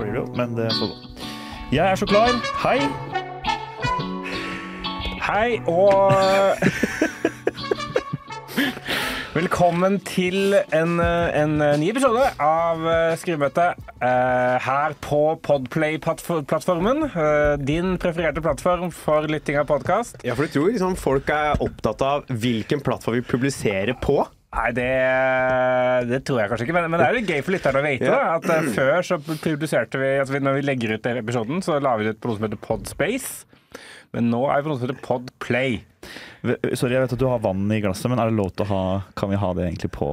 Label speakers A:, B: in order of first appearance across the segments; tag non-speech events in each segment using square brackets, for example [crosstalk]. A: blir det jo, men det får gå. Jeg er så klar. Hei.
B: Hei og Velkommen til en, en ny episode av eh, Skrivemøtet eh, her på Podplay-plattformen. eh, Din prefererte plattform for lytting av podkast.
C: Ja, for du tror liksom folk er opptatt av hvilken plattform vi publiserer på?
B: Nei, det, det tror jeg kanskje ikke, men, men det er jo litt gøy for lytterne å vite. Da, at eh, Før så publiserte vi altså vi- Når vi legger ut denne episoden, så la vi det ut på noe som heter Podspace. Men nå er vi på noe som heter Podplay.
A: V- Sorry, jeg vet at du har vann i glasset, men er det lov til å ha Kan vi ha det egentlig på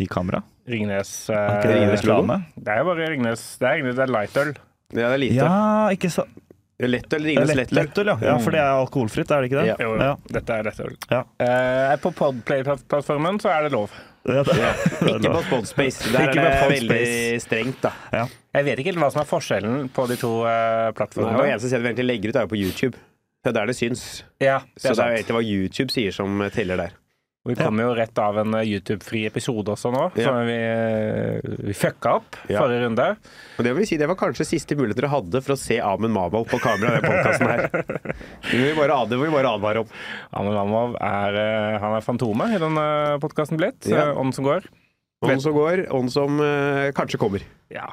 A: i kamera?
B: Ringnes
A: Er ikke det
B: eh,
C: Ringnes logo?
A: reklame?
B: Det er jo bare Ringnes. Det er, Ringnes, det er lightøl.
C: Ja, det er lite.
A: Ja, ikke så
C: Lett eller
A: Lett-
C: Ringnes Lettøl?
A: Lettøl, ja. ja. For det er alkoholfritt, er det ikke det?
C: Ja.
B: Jo,
A: Ja.
B: dette er lettøl.
A: Ja.
B: Eh, på Podplay-plattformen så er det lov.
A: Ja, det-
C: Ikke på Podspace. Der
A: Ikke
C: er det
A: på
C: veldig
A: Podspace.
C: strengt, da.
A: Ja.
B: Jeg vet ikke helt hva som er forskjellen på de to eh,
C: Det er jo
B: plattformene.
C: eneste stedet vi egentlig legger ut, er jo på YouTube. Det er der det syns.
B: Ja, det
C: Så
B: er
C: det er jo
B: sant.
C: egentlig hva YouTube sier som teller der.
B: Og Vi kommer jo rett av en eh, YouTube-fri episode også nå,
C: Ja.
B: som vi, eh, vi fucka opp
C: Ja.
B: forrige runde.
C: Og det vil si, det var kanskje siste mulighet dere hadde for å se Amund Mamal på kamera i den podkasten her. Det må vi bare ad- det må vi bare advare om.
B: Amund Mamov er, eh, han er fantomet i denne podkasten blitt.
C: Ja.
B: eh, Ånden som går.
C: Ånd som går, ånd som eh, kanskje kommer.
B: Ja.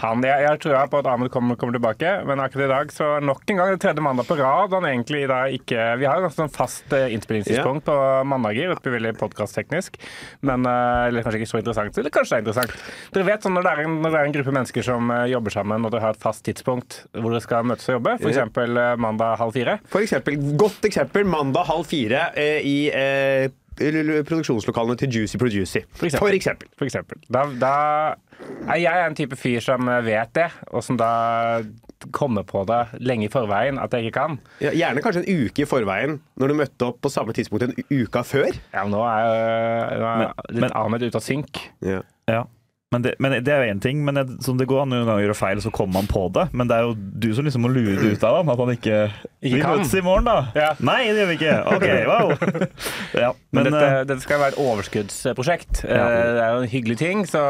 B: Han, jeg, jeg tror på at Ahmed kommer, kommer tilbake, men akkurat i dag så nok en gang det er tredje mandag på rad. Han egentlig da ikke Vi har jo ganske sånn fast eh, innspillingstidspunkt på mandager, det blir veldig podkastteknisk, men eh, eller kanskje ikke så interessant. Eller kanskje det er interessant. Dere vet sånn når det er en, når det er en gruppe mennesker som eh, jobber sammen, og dere har et fast tidspunkt hvor dere skal møtes og jobbe, f.eks. Uh, mandag halv fire.
C: For eksempel, godt eksempel mandag halv fire eh, i eh, l- l- produksjonslokalene til Juicy Producy. For
B: eksempel.
C: eksempel. For eksempel.
B: For eksempel. Da, da er jeg en type fyr som eh, vet det, og som da kommer på det lenge i forveien at jeg ikke kan.
C: Ja, gjerne kanskje en uke i forveien, når du møtte opp på samme tidspunkt en u- uka før.
B: Ja, men nå er, øh, nå er litt
A: men-
B: Ahmed ute av synk.
C: Ja.
A: Ja. Men det, men det er jo én ting. Men det, som det går an noen ganger å gjøre feil, så kommer man på det. Men det er jo du som liksom må lure det ut av ham. At han ikke Vi
B: kan.
A: møtes i morgen, da!
B: Ja.
A: Nei, det gjør vi ikke! Ok,
B: [laughs]
A: wow! ja, men,
B: Men,
A: eh,
B: dette, dette skal være et overskuddsprosjekt. Eh, Det er jo en hyggelig ting. Så,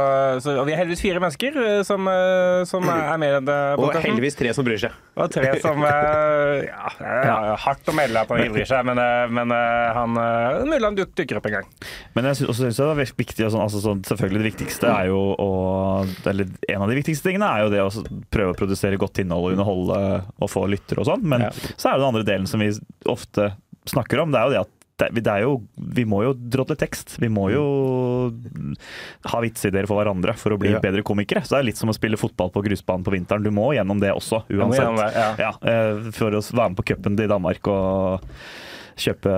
B: så, og vi er heldigvis fire mennesker eh, som, eh, som er med i denne
C: Og
B: podcasten.
C: heldigvis tre som bryr seg.
B: Og tre som eh, ja, det er Hardt å melde at han ivrer seg, men, eh, men eh, han eh, mulig han duk, dukker opp en gang.
A: eh, men jeg syns også synes det er veldig viktig og sånn, altså, sånn, Selvfølgelig det viktigste er jo å Eller en av de viktigste tingene er jo det å s- prøve å produsere godt innhold og underholde og få lyttere og sånn. Men
B: Ja.
A: så er det den andre delen som vi ofte snakker om. Det er jo det at det, det er jo, vi må jo drodle tekst. Vi må jo ha vitseideer for hverandre for å bli
C: Ja.
A: bedre komikere. Så det er litt som å spille fotball på grusbanen på vinteren. Du må gjennom det også,
B: må
A: uansett.
B: gjennom det, ja.
A: eh, for å være med på cupen i Danmark og kjøpe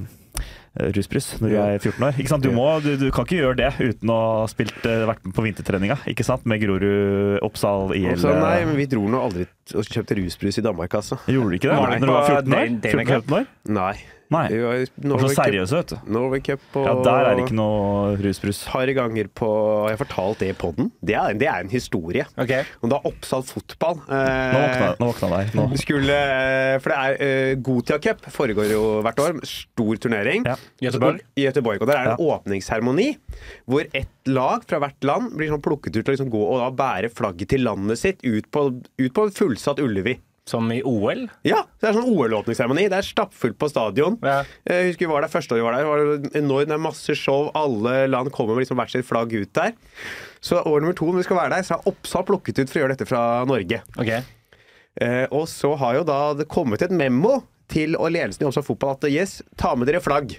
A: eh, rusbrus når du
C: Ja.
A: er 14 år. Ikke sant? Du, må, du, du kan ikke gjøre det uten å ha spilt, eh, vært med på vintertreninga ikke sant? med Grorud, Oppsal, eh, IL
C: Så nei, men vi dro nå aldri t- og kjøpte rusbrus i Danmark, altså.
A: Gjorde du ikke det?
B: Var
A: Var det
B: det
A: når du var
B: på
A: 14 år?
B: Dan-
A: 14,
B: Danica?
A: 15 år?
C: Nei.
A: Nei.
C: Vi var i
A: Det var
C: Norway
A: så seriøse, vet du.
C: Cup- Norway Cup og
A: Ja, der er det ikke noe rusbrus.
C: et par ganger på Har jeg fortalt det i poden? Det, er- det er en historie.
B: Ok.
C: Og da Oppsal fotball
A: Nå
C: eh,
A: våkna, nå våkna jeg. Nå.
C: [laughs] Skulle, eh, for det er eh, Gotia Cup foregår jo hvert år. Stor turnering.
A: Ja.
B: Göteborg.
C: Og- I Göteborg. Og der er det en åpningsseremoni hvor ett lag fra hvert land blir sånn plukket ut til å liksom gå og da bære flagget til landet sitt ut på, ut på fullsatt Ullevi.
B: Som i OL.
C: Ja, det er sånn OL-åpningsseremoni. Det er stappfullt på stadion.
B: Ja.
C: Jeg husker vi var der første året vi var der. Det var enormt, det er masse show. Alle land kommer med liksom hvert sitt flagg ut der. Så år nummer to når vi skal være der, så er Oppsal plukket ut for å gjøre dette fra Norge.
B: Ok.
C: Eh, og så har jo da det kommet et memo til og ledelsen i Oppsal Fotball at yes, ta med dere
B: [laughs]
C: flagg.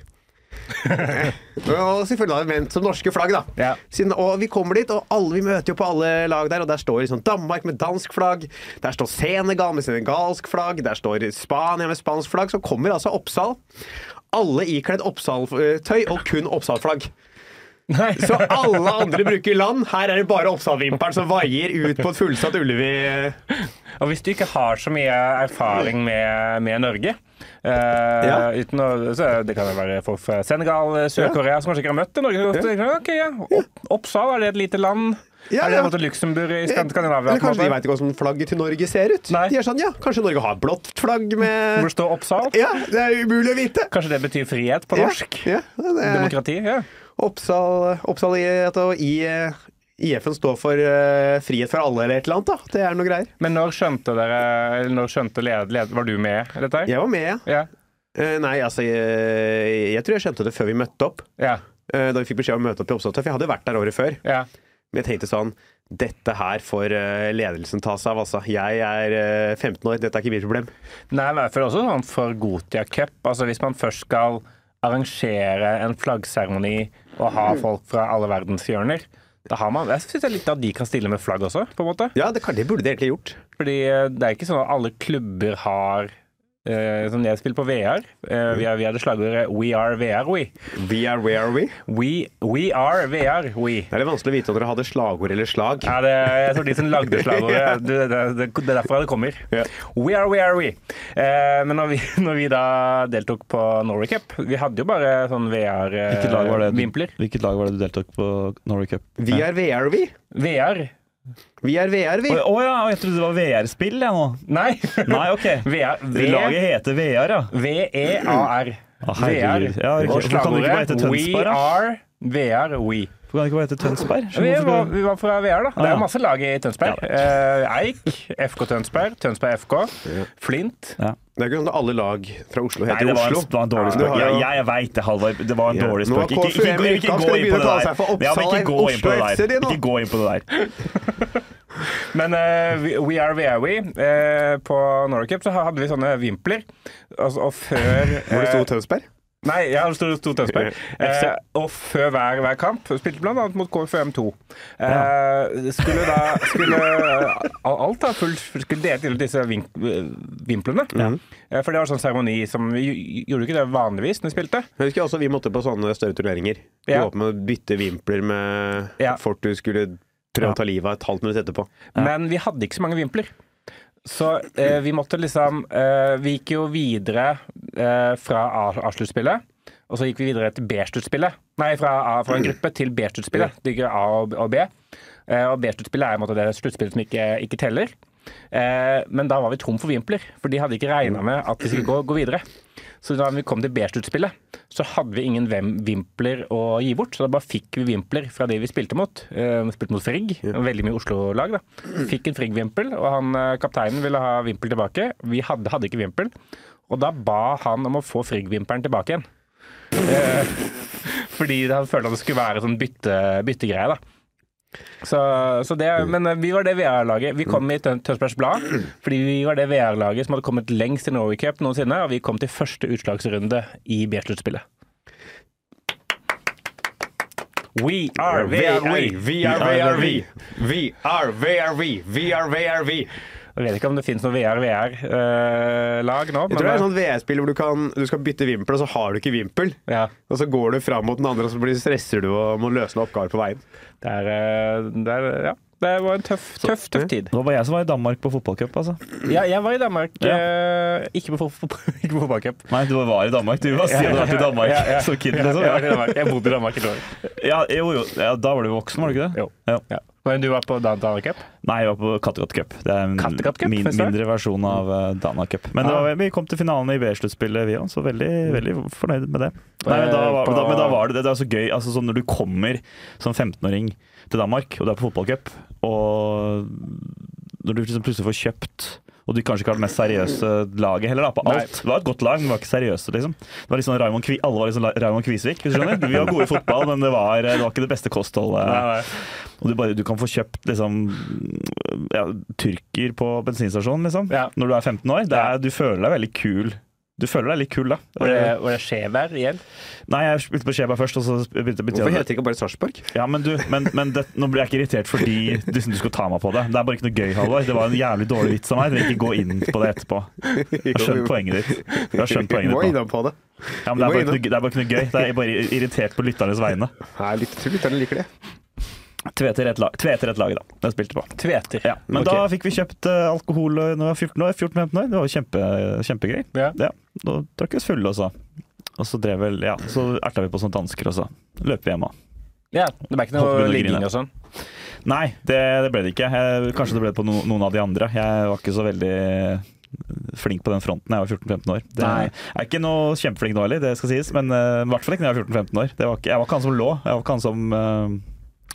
C: og selvfølgelig da vendt som norske flagg, da.
B: Ja.
C: Siden, og vi kommer dit, og alle, vi møter jo på alle lag der, og der står liksom Danmark med dansk flagg, der står Senegal med senegalsk flagg, der står Spania med spansk flagg, så kommer altså Oppsal. Alle ikledd Oppsal-tøy og kun Oppsal-flagg.
B: Nei.
C: Så alle andre bruker land. Her er det bare Oppsal-vimpelen som vaier ut på et fullsatt Ullevi. eh,
B: Og hvis du ikke har så mye erfaring med, med Norge eh,
C: Ja.
B: uten å, så Det kan jo være folk fra Senegal, eh, Sør-Korea som kanskje ikke har møtt Norge. Så tenker jeg, ok, ja. Opp, Oppsal, er det et lite land?
C: Ja,
B: er det
C: ja. Eh,
B: på en måte Luxembourg i Skand- Skandinavia? på
C: Eller
B: en
C: kanskje de
B: måte?
C: veit ikke hvordan flagget til Norge ser ut.
B: Nei.
C: De er sånn, ja, Kanskje Norge har blått flagg med
B: Hvor står Oppsal?
C: Ja, det er umulig å vite!
B: Kanskje det betyr frihet på norsk?
C: Eh. Ja, ja, det er
B: Demokrati? ja.
C: Oppsal, Oppsal i, at det var i, IF-en står for eh, frihet for alle eller et eller annet. da. Det er noe greier.
B: Men når skjønte dere eller Når skjønte led, led, Var du med i dette? her?
C: Jeg var med, jeg.
B: Ja.
C: Eh, nei, altså jeg, jeg tror jeg skjønte det før vi møtte opp.
B: Ja.
C: eh, da vi fikk beskjed om å møte opp til oppstartet. For jeg hadde jo vært der året før.
B: ja.
C: Men jeg tenkte sånn Dette her får eh, ledelsen ta seg av, altså. Jeg er eh, 15 år, dette er ikke mitt problem.
B: Nei, men jeg føler også sånn for Gotia Cup. Altså hvis man først skal arrangere en flaggseremoni og ha folk fra alle verdens hjørner, da har man Jeg syns det er litt at de kan stille med flagg også, på en måte.
C: Ja, det, kan- det burde de egentlig gjort.
B: Fordi eh, det er ikke sånn at alle klubber har eh, Som jeg spiller på VR. Eh, vi, har, vi hadde slagordet 'We are VR, we'.
C: We are where are we?
B: We, we are VR, we.
C: Det er litt vanskelig å vite om dere hadde slagord eller slag.
B: Ja, det, jeg tror de som
A: [laughs]
B: lagde slagordet det, det, det, det er derfra det kommer.
C: Ja.
B: We are, we are, we. Eh, men når vi, [laughs] når vi da deltok på Norway Cup Vi hadde jo bare sånn
A: Hvilket lag var det du,
B: VR-vimpler.
A: hvilket lag var det du deltok på Norway Cup?
C: We are where are we?
B: VR?
C: We are where are
A: Å
C: we?
A: ja, jeg trodde det var VR-spill, jeg nå.
B: Nei. [laughs]
A: Nei, OK.
B: VR,
A: [laughs] Det laget
B: v,
A: heter VR, ja.
B: E V-E-A-r.
A: Å, herregud. Ja, ok.
B: Og
A: Hvorfor kan det ikke bare hete
B: slagordet We
A: Tønsberg, da?
B: are VR, we.
A: Kan det ikke bare hete Tønsberg?
B: Vi
A: Hvorfor
B: var,
A: skal-
B: vi var fra VR, da. Det
A: Ah,
B: er
A: ja.
B: jo masse lag i Tønsberg. Eh, Eik, FK Tønsberg, Tønsberg FK, Flint.
A: Ja.
C: Det er ikke sånn at alle lag fra Oslo
A: Nei,
C: heter
A: det var, en,
C: Oslo.
A: det var en dårlig
C: Ja, du
A: spøk.
C: har
A: Jeg,
C: jo-
A: jeg veit det, Halvard. Det var en
C: Ja.
A: dårlig
C: Nå
A: spøk.
C: har
A: Ikke, ikke,
C: KFUM
A: ikke,
C: i
A: ikke
C: Rjukan
A: gå inn
C: skulle begynne
A: på
C: å
A: det
C: kalle
A: der.
C: seg for
A: Ja, men ikke
C: Oppsal
A: gå inn på det
C: FC de
A: der.
C: nå.
A: Ikke gå inn på det der.
B: Men eh, we- We Are We Are We eh, på Norway Cup så hadde vi sånne vimpler. Altså, og før
C: [laughs] Hvor det
B: eh,
C: sto Tønsberg?
B: Nei, ja, det sto, det sto Tønsberg. Eh, og før hver, hver kamp. Spilte bl.a. mot KFUM2. Eh, Skulle da skulle, eh, al- Alt da, full, skulle delt inn i disse vink, vimplene. Eh, for det var sånn seremoni som vi gj- Gjorde ikke det vanligvis når vi spilte?
C: Jeg husker også vi måtte på sånne større turneringer. Vi
B: Ja.
C: var på med å bytte vimpler med
B: Ja.
C: folk du skulle prøve å ta livet av et halvt minutt etterpå.
B: Men vi hadde ikke så mange vimpler. Så eh, vi måtte liksom eh, Vi gikk jo videre eh, fra A- A-sluttspillet. Og så gikk vi videre til B-sluttspillet. Nei, fra, A, fra en gruppe til B-sluttspillet. Det ligger A og, og B. Eh, og B-sluttspillet er i en måte det sluttspillet som ikke, ikke teller. Eh, men da var vi tom for vimpler, for de hadde ikke regna med at vi skulle gå, gå videre. Så da vi kom til B-sluttspillet, så hadde vi ingen vem- vimpler å gi bort. Så da bare fikk vi vimpler fra de vi spilte mot. Eh, vi spilte mot Frigg, veldig mye Oslo-lag. da. Fikk en Frigg-vimpel, og han, eh, kapteinen ville ha vimpel tilbake. Vi hadde, hadde ikke vimpel, og da ba han om å få Frigg-vimpelen tilbake igjen. Eh, fordi han følte at det skulle være sånn bytte, byttegreie. da. Så, så det, men eh, vi var det VR-laget. Vi kom i Tøn- Tønsbergs Blad fordi vi var det VR-laget som hadde kommet lengst i Norway Cup noensinne, og vi kom til første utslagsrunde i B-sluttspillet. We are VR, we.
C: We are VRV. We are VRV. We are VRV.
B: Jeg vet ikke om det finnes noe VR-VR-lag eh, nå.
C: Jeg tror det er sånn VR-spill hvor du, kan, du skal bytte vimpel, og så har du ikke vimpel.
B: ja,
C: Og så går du fram mot den andre, og så blir, stresser du og må løse noen oppgaver på veien.
B: det, er, eh, det, er, ja, det var en tøff, tøff, tøff tid.
A: Det var bare jeg som var i Danmark på fotballcup, altså.
B: Mm. Ja, jeg var i Danmark. eh, ikke på fot- fot- [laughs] ikke på fotballcup.
A: Nei, du var i Danmark. Du var siden du vært i Danmark
B: Ja, ja.
A: som kid,
B: Ja,
A: liksom.
B: jeg var
A: Ja,
B: i Danmark. Jeg bodde i Danmark et år.
A: jo, jo. Ja, da var du voksen, var du ikke det?
B: Jo.
A: Ja.
B: Ja. Men du var på Dan Danmark Cup?
A: Nei, jeg var på Kattegat Cup. Det er en
B: Kattegat Cup,
A: min,
B: finnes det?
A: mindre versjon av eh, Dana Cup. Men det
B: Ah.
A: var, vi kom til finalen i B-sluttspillet, vi òg, så veldig, veldig fornøyd med det. Nei, men da, var,
B: Mm. Eh, på-
A: da, men da var det det. Det er så gøy. Altså, sånn når du kommer som 15-åring til Danmark, og du er på fotballcup, og når du liksom plutselig får kjøpt og du kanskje ikke har det mest seriøse laget heller, da, på
B: Nei.
A: alt. Det var et godt lag, men det var ikke seriøse, liksom. Det var litt sånn Raymond Kvi, alle var liksom La- Raymond Kvisvik, hvis du skjønner. Vi var gode i fotball, men det var, eh, det var ikke det beste kostholdet. Og du, bare, du kan få kjøpt liksom, ja, tyrker på bensinstasjonen liksom,
B: Ja.
A: når du er 15 år. Det er, du føler deg veldig kul. Du føler deg litt kul, da. Eh,
B: Var det, var det skjevær igjen?
A: Nei, jeg spilte på Skjebær først, og så begynte begynte jeg
C: Hvorfor heter det ikke bare [laughs] Sarpsborg?
A: ja, men du, men, men det, Nå ble jeg ikke irritert fordi du syntes du skulle ta meg på det. Det er bare ikke noe gøy, Halvor. Det var en jævlig dårlig vits av meg. Jeg trenger ikke gå inn på det etterpå. Jeg har skjønt poenget ditt. Jeg har skjønt poenget
C: [laughs] Vi må
A: ditt nå.
C: innom på det.
A: Ja, men det, er bare ikke noe, det er bare ikke noe gøy. Det er bare irritert på lytternes vegne.
C: Nei, litt tror lytterne liker det.
A: Tveter et lag, Tveter et lag da. Det jeg spilte på.
B: Tveter.
A: Ja, men
B: Ok.
A: da fikk vi kjøpt eh, alkohol eh, når jeg var 14-15 år. Det var jo kjempe, kjempegøy.
B: Ja.
A: Ja, da drakk vi oss fulle også. Og så drev vel, ja, så erta vi på sånne dansker også. Løp vi hjemme.
B: ja. Det ble ikke
A: Håper
B: noe
A: du
B: ligging
A: griner.
B: og sånn?
A: Nei, det, det ble det ikke. Jeg, kanskje det ble det på no, noen av de andre. Jeg var ikke så veldig eh, flink på den fronten da jeg var 14-15 år. Det
B: Nei.
A: jeg er ikke noe kjempeflink nå heller, det skal sies, men eh, i hvert fall ikke da jeg var 14-15 år. Det var ikke, jeg var ikke han som lå, jeg var ikke han som eh,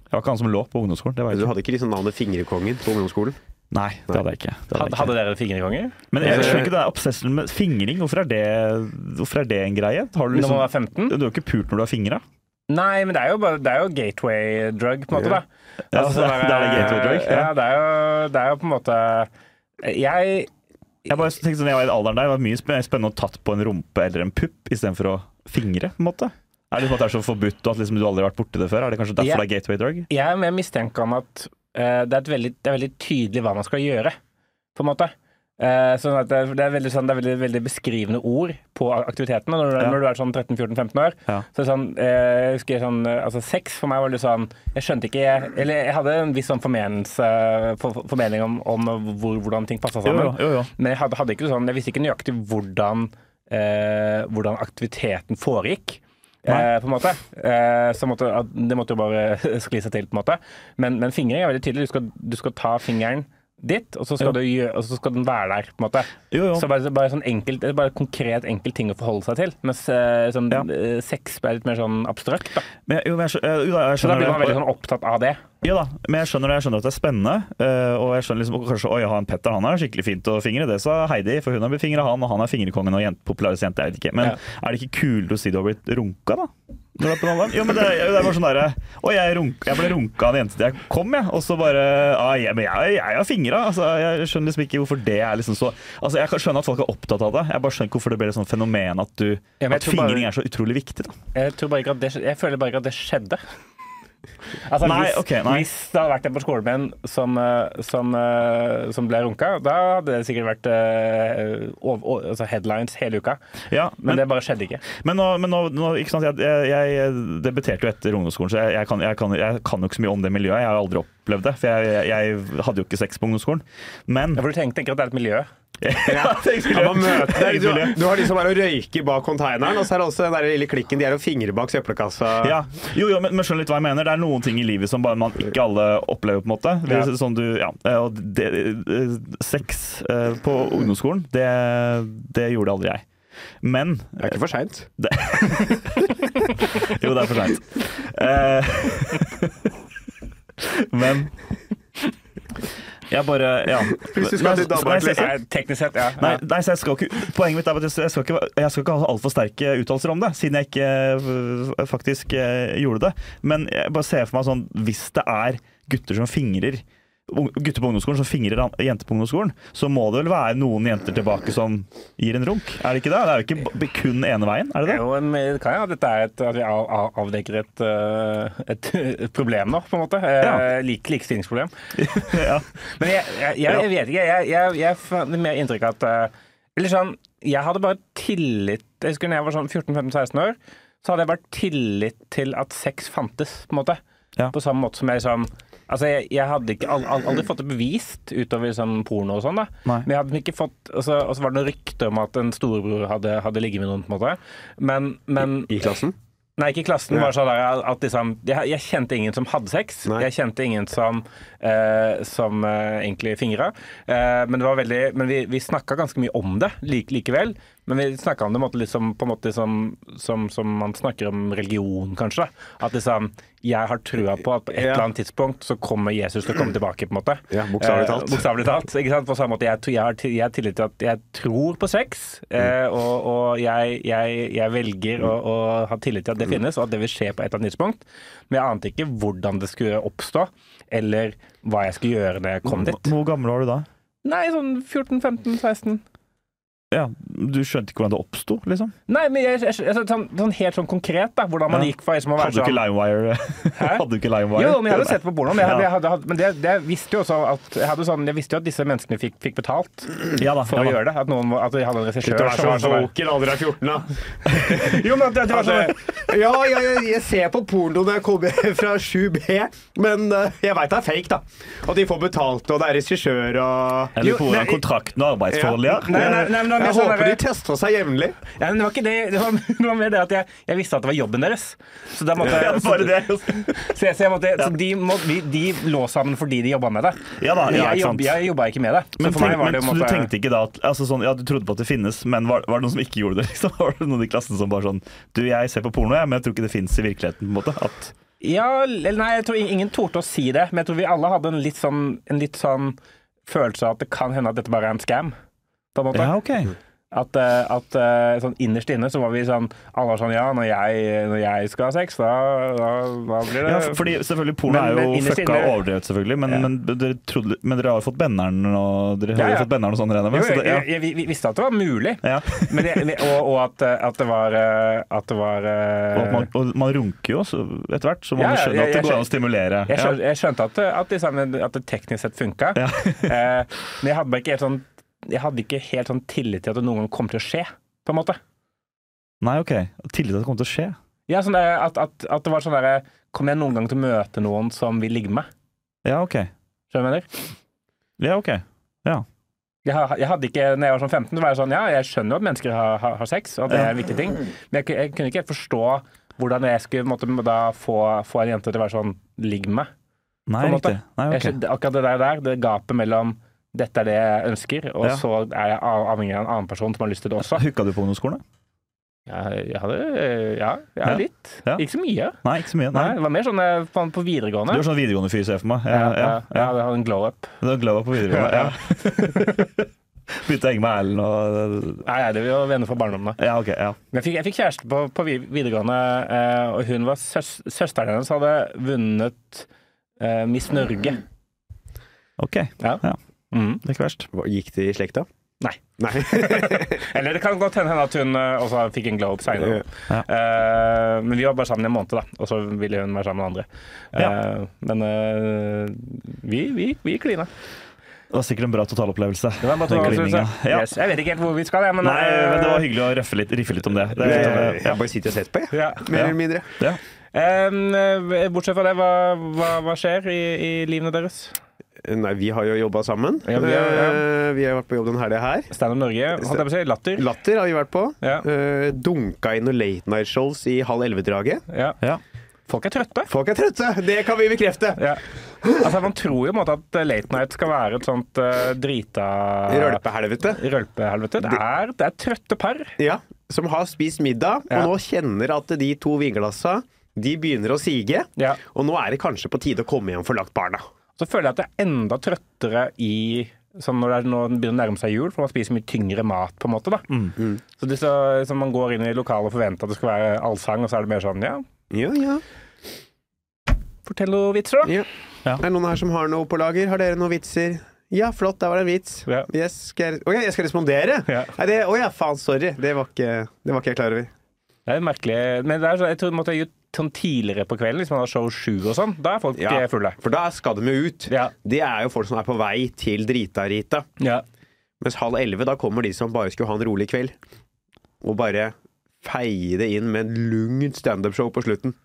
A: Jeg var ikke han som lå på ungdomsskolen. Det var
C: Du
A: jeg ikke.
C: hadde ikke liksom navnet Fingrekongen på ungdomsskolen?
A: Nei, det hadde jeg ikke. Det hadde jeg
B: Hadde,
A: ikke.
B: hadde dere fingerkonger?
A: Men
B: Eh,
A: jeg skjønner ikke det er obsessen med fingring. Hvorfor er det, hvorfor er det en greie? Har du,
B: Når man
A: liksom,
B: var 15?
A: du er jo ikke pult når du har fingra.
B: Nei, men det er jo, bare, det er jo gateway drug, på en måte. [laughs] da.
A: Ja, det
B: sånn
A: er- det er det gateway drug,
B: Ja,
A: ja.
B: det, er jo, det er jo på en måte Jeg
A: Jeg bare tenkte sånn, jeg var i alderen der, det var mye sp- spennende å tatt på en rumpe eller en pupp istedenfor å fingre. på en måte. Er det liksom at det er så forbudt, og at liksom du aldri har vært borti det før? Er det kanskje derfor
B: Ja.
A: det er gateway drug?
B: Jeg er mer mistenkende at eh, det, er et veldig, det er veldig tydelig hva man skal gjøre, på en måte. Eh, sånn at det, er- det er veldig, sånn, det er veldig, veldig beskrivende ord på aktivitetene. Når, du-
A: Ja.
B: når du er sånn 13-14-15 år,
A: Ja.
B: så er det sånn, eh, jeg husker jeg sånn eh, altså Sex for meg var litt sånn Jeg skjønte ikke jeg, Eller jeg hadde en viss sånn formenelse, for, for- formening om, om hvor, hvordan ting passa
A: Jo,
B: sammen.
A: jo, jo, jo.
B: Men jeg, hadde, hadde ikke sånn, jeg visste ikke nøyaktig hvordan, eh, hvordan aktiviteten foregikk. Eh,
A: Nei.
B: på en måte. Eh, så måtte, at- det måtte jo bare [laughs] skli seg til, på en måte. Men, men fingring er veldig tydelig. Du skal, du skal ta fingeren ditt, og så skal,
A: Jo.
B: du, gjø- og så skal den være der, på en måte.
A: Jo, jo.
B: Så bare, bare sånn enkelt, bare konkret enkelt ting å forholde seg til. Mens eh, sånn,
A: Ja.
B: eh, sex er litt mer sånn abstrakt. Da.
A: Men, jeg- jo, men jeg, skjø- eh, jo, da, jeg
B: Så da
A: skjønner
B: blir man
A: det.
B: veldig sånn opptatt av det.
A: Ja da, men jeg skjønner det, jeg skjønner at det er spennende. eh, og jeg skjønner liksom og kanskje Oi, han Petter han er skikkelig fint å fingre. Det sa Heidi, for hun har blitt fingra, han, og han er fingerkongen og jente, popularis jente. Jeg vet ikke. Men
B: Ja.
A: er det ikke kulere å si du har blitt runka, da? Når du er på den alderen? Jo, men det, er- det er bare sånn derre Oi, jeg, runk, jeg ble runka av en jente til jeg kom, jeg. Og så bare ah, jeg, Men jeg, jeg har fingra. Altså, jeg skjønner liksom ikke hvorfor det er liksom så Altså, jeg kan skjønne at folk er opptatt av det. Jeg bare skjønner ikke hvorfor det ble et sånt fenomen at du
B: Ja, men jeg
A: At
B: tror bare-
A: fingring er så utrolig viktig, da.
B: Jeg, tror bare ikke at det, skje- jeg føler bare ikke at det skjedde. Altså,
A: Nei,
B: hvis,
A: ok, nei.
B: hvis det hadde vært en på skolen min som, eh, som, eh, som ble runka, da hadde det sikkert vært eh, ov- ov- altså headlines hele uka.
A: Ja,
B: Men, det bare skjedde ikke.
A: Men nå, men nå, nå ikke sant, jeg, jeg, jeg debuterte jo etter ungdomsskolen, så jeg, jeg, kan, jeg, kan, jeg kan jo ikke så mye om det miljøet. Jeg har aldri opplevd det, for jeg, jeg, jeg hadde jo ikke sex på ungdomsskolen. Men
B: For du tenker ikke at det er et miljø?
A: [laughs] Ja, det skulle jeg-
C: man møter,
A: det er
C: du,
A: hyggelig.
C: du har liksom de som er og røyker bak konteineren, og så er det også den der lille klikken de er og fingrer bak søppelkassa.
A: ja. Jo, jo, men, men skjønner litt hva jeg mener. Det er noen ting i livet som bare man ikke alle opplever. på en måte. Det,
B: Ja.
A: er sånn du, ja. eh, Og det, eh, sex eh, på ungdomsskolen, det, det gjorde aldri jeg. Men
C: Det er ikke for seint.
A: Jo, det er for seint. Eh, men Jeg bare Ja.
C: Hvis du skal til
A: Nei,
C: Danmark,
A: så-
C: liksom.
B: Nei, teknisk sett, ja.
A: Nei,
B: ja.
A: nei, så jeg skal ikke, poenget mitt er at jeg skal ikke, jeg skal ikke ha altfor sterke uttalelser om det, siden jeg ikke øh, faktisk øh, gjorde det. Men jeg bare ser for meg sånn, hvis det er gutter som fingrer ung- gutter på ungdomsskolen som fingrer an- jenter på ungdomsskolen, så må det vel være noen jenter tilbake som gir en runk? Er det ikke det? Det er jo ikke b- kun ene veien, er det
B: Det er
A: det?
B: jo en, det kan jo at dette er et, at vi av, av, avdekker et, eh, et, et [laughs] problem nå, på en måte. Eh, lik, likestillingsproblem.
A: Ja.
B: Men jeg, jeg, jeg, jeg vet ikke. Jeg, jeg, jeg får mer inntrykk av at eh, Eller sånn Jeg hadde bare tillit Jeg husker da jeg var sånn 14-15-16 år, så hadde jeg bare tillit til at sex fantes, på en måte.
A: Ja.
B: På samme måte som jeg liksom Altså, jeg, jeg hadde ikke, al- al- aldri fått det bevist utover liksom porno og sånn, da.
A: Nei.
B: Men jeg hadde ikke fått Og så og så var det noen rykter om at en storebror hadde, hadde ligget med noen, på en måte. Men, men
C: I klassen?
B: Nei, ikke i klassen.
C: Ja.
B: Bare sånn der at liksom, jeg, jeg kjente ingen som hadde sex.
C: Nei.
B: Jeg kjente ingen som, eh, som eh, egentlig fingra. Eh, men det var veldig, men vi, vi snakka ganske mye om det like, likevel. Men vi snakka om det på en måte, liksom, på en måte som, som, som man snakker om religion, kanskje. Da. At liksom, jeg har trua på at på et
C: Ja.
B: eller annet tidspunkt så kommer Jesus til å komme tilbake. på en måte.
C: Ja, bokstavelig talt.
B: Eh, bokstavelig talt ikke sant? På samme måte, jeg, tror- jeg, har, til- jeg har tillit til at jeg tror på sex,
A: Mm.
B: eh, og, og jeg, jeg, jeg velger å, å ha tillit til at det
A: Mm.
B: finnes, og at det vil skje på et eller annet tidspunkt. Men jeg ante ikke hvordan det skulle oppstå, eller hva jeg skulle gjøre når jeg kom dit.
A: Hvor gammel var du da?
B: Nei, sånn 14-15-16.
A: Ja, Du skjønte ikke hvordan det oppsto, liksom?
B: Nei, men jeg, jeg, jeg, sånn, sånn helt sånn konkret, da. Hvordan man
A: Ja.
B: gikk fra liksom å være
A: Hadde du ikke
B: sånn
A: Limewire?
B: Hæ?
A: [laughs] Hadde du ikke Limewire?
B: Jo, men jeg hadde sett på pornoen. Jeg, hadde-
A: Ja.
B: jeg hadde, hatt- men det, det visste jo også at jeg, hadde sånn, jeg visste jo at disse menneskene fikk, fikk betalt
A: [laughs] ja, da, ja,
B: for å
A: da.
B: gjøre det. At, noen, var- at de hadde en regissør
C: Du er
B: som
C: så
B: var sånn
C: våken, aldri er 14, da.
B: Jo, men at det, det
A: Altså,
B: var sånn
C: [laughs] Ja, ja, ja, jeg ser på porno når jeg kommer [laughs] fra 7B, men eh, jeg veit det er fake, da. Og de får betalt, og det er regissør og
A: Jeg lurer
B: Jo,
A: på hvordan
B: nei,
A: kontrakten og arbeidsforholdet er.
B: Nei, nei, nei, men det er
C: Jeg
B: sånn
C: håper de
B: der-
C: tester seg jevnlig.
B: ja, men det var ikke det. Det var, [laughs] det var mer det at jeg, jeg visste at det var jobben deres. Så da måtte
A: [laughs] Ja,
B: jeg, så,
A: bare det.
B: så jeg, så jeg måtte, så de, må, de, de lå sammen fordi de jobba med det.
A: Ja da, ja,
B: jeg
A: ikke
B: jobb-
A: sant.
B: jeg jobba ikke med det. Så
A: Men,
B: for
A: tenk,
B: meg var
A: men
B: det jo
A: så du
B: måtte,
A: tenkte ikke da at altså sånn, Ja, du trodde på at det finnes, men var, var det [laughs] noen som ikke gjorde det? Liksom? Var det noen i klassen som bare sånn Du, jeg ser på porno, jeg, men jeg tror ikke det fins i virkeligheten, på en måte. At
B: Ja, eller nei, jeg tror ing- ingen torde å si det, men jeg tror vi alle hadde en litt sånn, en litt sånn følelse av at det kan hende at dette bare er en scam. På en måte.
A: Ja, ok.
B: At, eh, at eh, sånn innerst inne så var vi sånn Alle var sånn Ja, når jeg, når jeg skal ha sex, da, da, da blir det
A: Ja, for- fordi selvfølgelig Porno
B: Eh, Men-
A: er
B: men
A: jo
B: innerst
A: fucka
B: inne-
A: og overdrevet, selvfølgelig. Men,
B: Ja.
A: men, dere trodde, men dere har jo fått benneren og dere har
B: Ja,
A: jo
B: ja.
A: fått benneren og sånn, regner jeg
B: Jo,
A: med. Så
B: jeg,
A: det,
B: jeg, jeg, vi visste at det var mulig,
A: ja. Ja.
B: men jeg, og, og at, eh, at det var eh, At det var eh,
A: Og, at man, og man runker jo så etter hvert, så man
B: Ja, ja,
A: skjønner at
B: jeg-
A: det
B: jeg
A: går an å stimulere.
B: Jeg skjønte, jeg skjønte at, det- at, det sammen- at det teknisk sett funka,
A: Ja.
B: [laughs] eh, men jeg hadde bare ikke helt sånn Jeg hadde ikke helt sånn tillit til at det noen gang kom til å skje, på en måte.
A: Nei, ok. Tillit til at det kommer til å skje.
B: Ja, sånn der, at, at, at det var sånn derre Kommer jeg noen gang til å møte noen som vil ligge med meg?
A: Ja, ok.
B: Skjønner du hva jeg mener?
A: Ja, ok.
B: Jeg, ha- jeg hadde ikke, når jeg var sånn 15, så var jeg sånn Ja, jeg skjønner jo at mennesker har, har, har sex, og at det er en viktig ting, men jeg, ku- jeg kunne ikke helt forstå hvordan jeg skulle måtte, da få, få en jente til å være sånn Ligg med meg.
A: Nei,
B: På en måte.
A: riktig. Nei,
B: Jeg
A: ok.
B: skjønner- Akkurat det der, der, det gapet mellom dette er det jeg ønsker, og
A: Ja.
B: så er jeg av- avhengig av en annen person som har lyst til det også.
A: Hooka du på ungdomsskolen? da?
B: Jeg, jeg hadde eh, Ja, jeg
A: Ja.
B: hadde litt.
A: Ja.
B: Ikke så mye.
A: Nei, ikke så mye.
B: Nei,
A: Nei.
B: det var mer sånn eh, på, på videregående.
A: Du er sånn videregående fyr, ser jeg for meg. Ja,
B: ja,
A: ja, ja.
B: jeg hadde en glow up.
A: Du er glad i å være på videregående.
B: Ja,
A: Ja. [laughs] Begynte å henge med Erlend og
B: Nei, nei, det var jo venner fra barndommen. da.
A: Ja, ok. Ja.
B: Men Jeg fikk, jeg fikk kjæreste på, på vi- videregående, eh, og hun var søs, søsteren hennes hadde vunnet eh, Miss Norge.
A: Ok,
B: Ja.
A: Ja.
B: Mhm.
A: det er ikke verst.
C: Hva- Gikk det i slekta?
B: Nei.
C: Nei.
B: Eller [laughs] det kan godt hende at hun eh, også fikk en glow up seinere.
A: Ja.
B: Eh, men vi var bare sammen i en måned, da, og så ville hun være sammen med andre.
A: Ja.
B: Eh, men eh, vi, vi, vi klina.
A: Det var sikkert en bra totalopplevelse.
B: Det var bare to
A: Den
B: ganger,
A: klininga.
B: så-
A: Ja.
B: yes, jeg vet ikke helt hvor vi skal, jeg, men,
A: Nei,
B: eh,
A: men det var hyggelig å røffe litt, riffe litt om det. det
C: Jeg,
A: ja.
C: jeg bare sitter og ser på, jeg.
B: ja.
C: Mer
A: Ja.
C: eller mindre.
A: Ja.
B: Eh, bortsett fra det, hva, hva, hva skjer i, i livene deres?
C: Nei, vi har jo jobba sammen.
B: Ja, vi har- ja.
C: Eh, Vi har vært på jobb den helga her.
B: Stand Up Norge, holdt jeg på å si. Latter.
C: Latter har vi vært på.
B: Ja.
C: Eh, Dunka inn noen late night shows i halv elleve-draget.
B: Ja.
A: Ja.
B: Folk er trøtte.
C: Folk er trøtte! Det kan vi bekrefte!
B: Ja. Altså, man tror jo på en måte at eh, late night skal være et sånt eh, drita
C: Rølpehelvete.
B: rølpehelvete. Det er, det er trøtte par.
C: Ja, som har spist middag,
B: Ja.
C: og nå kjenner at de to vinglassa de begynner å sige.
B: Ja.
C: Og nå er det kanskje på tide å komme hjem for lagt barna.
B: Så føler jeg at det er enda trøttere i Sånn når det er, når den begynner å nærme seg jul, for man spiser mye tyngre mat, på en måte. da. Så, det, så, så man går inn i lokalet og forventer at det skal være allsang, og så er det mer sånn ja,
C: Ja, ja.
B: fortell noen vitser, da.
C: ja.
A: Ja.
C: Er det noen her som har noe på lager? Har dere noen vitser? Ja, flott, der var det en vits.
B: Ja.
C: Yes, skal jeg... Å ja, jeg skal respondere?
B: Ja.
C: Nei, det... Å ja, faen, sorry. Det var, ikke... det var ikke jeg klar over.
B: Det er merkelig. Men det er så, jeg tror måtte jeg gjort sånn tidligere på kvelden, hvis man har show sju og sånn. Da er folk
C: Ja.
B: eh, fulle.
C: For da skal de jo ut.
B: Ja.
C: Det er jo folk som er på vei til drita-rita.
B: Ja.
C: Mens halv elleve, da kommer de som bare skulle ha en rolig kveld. Og bare feie det inn med en lugnt standup-show på slutten.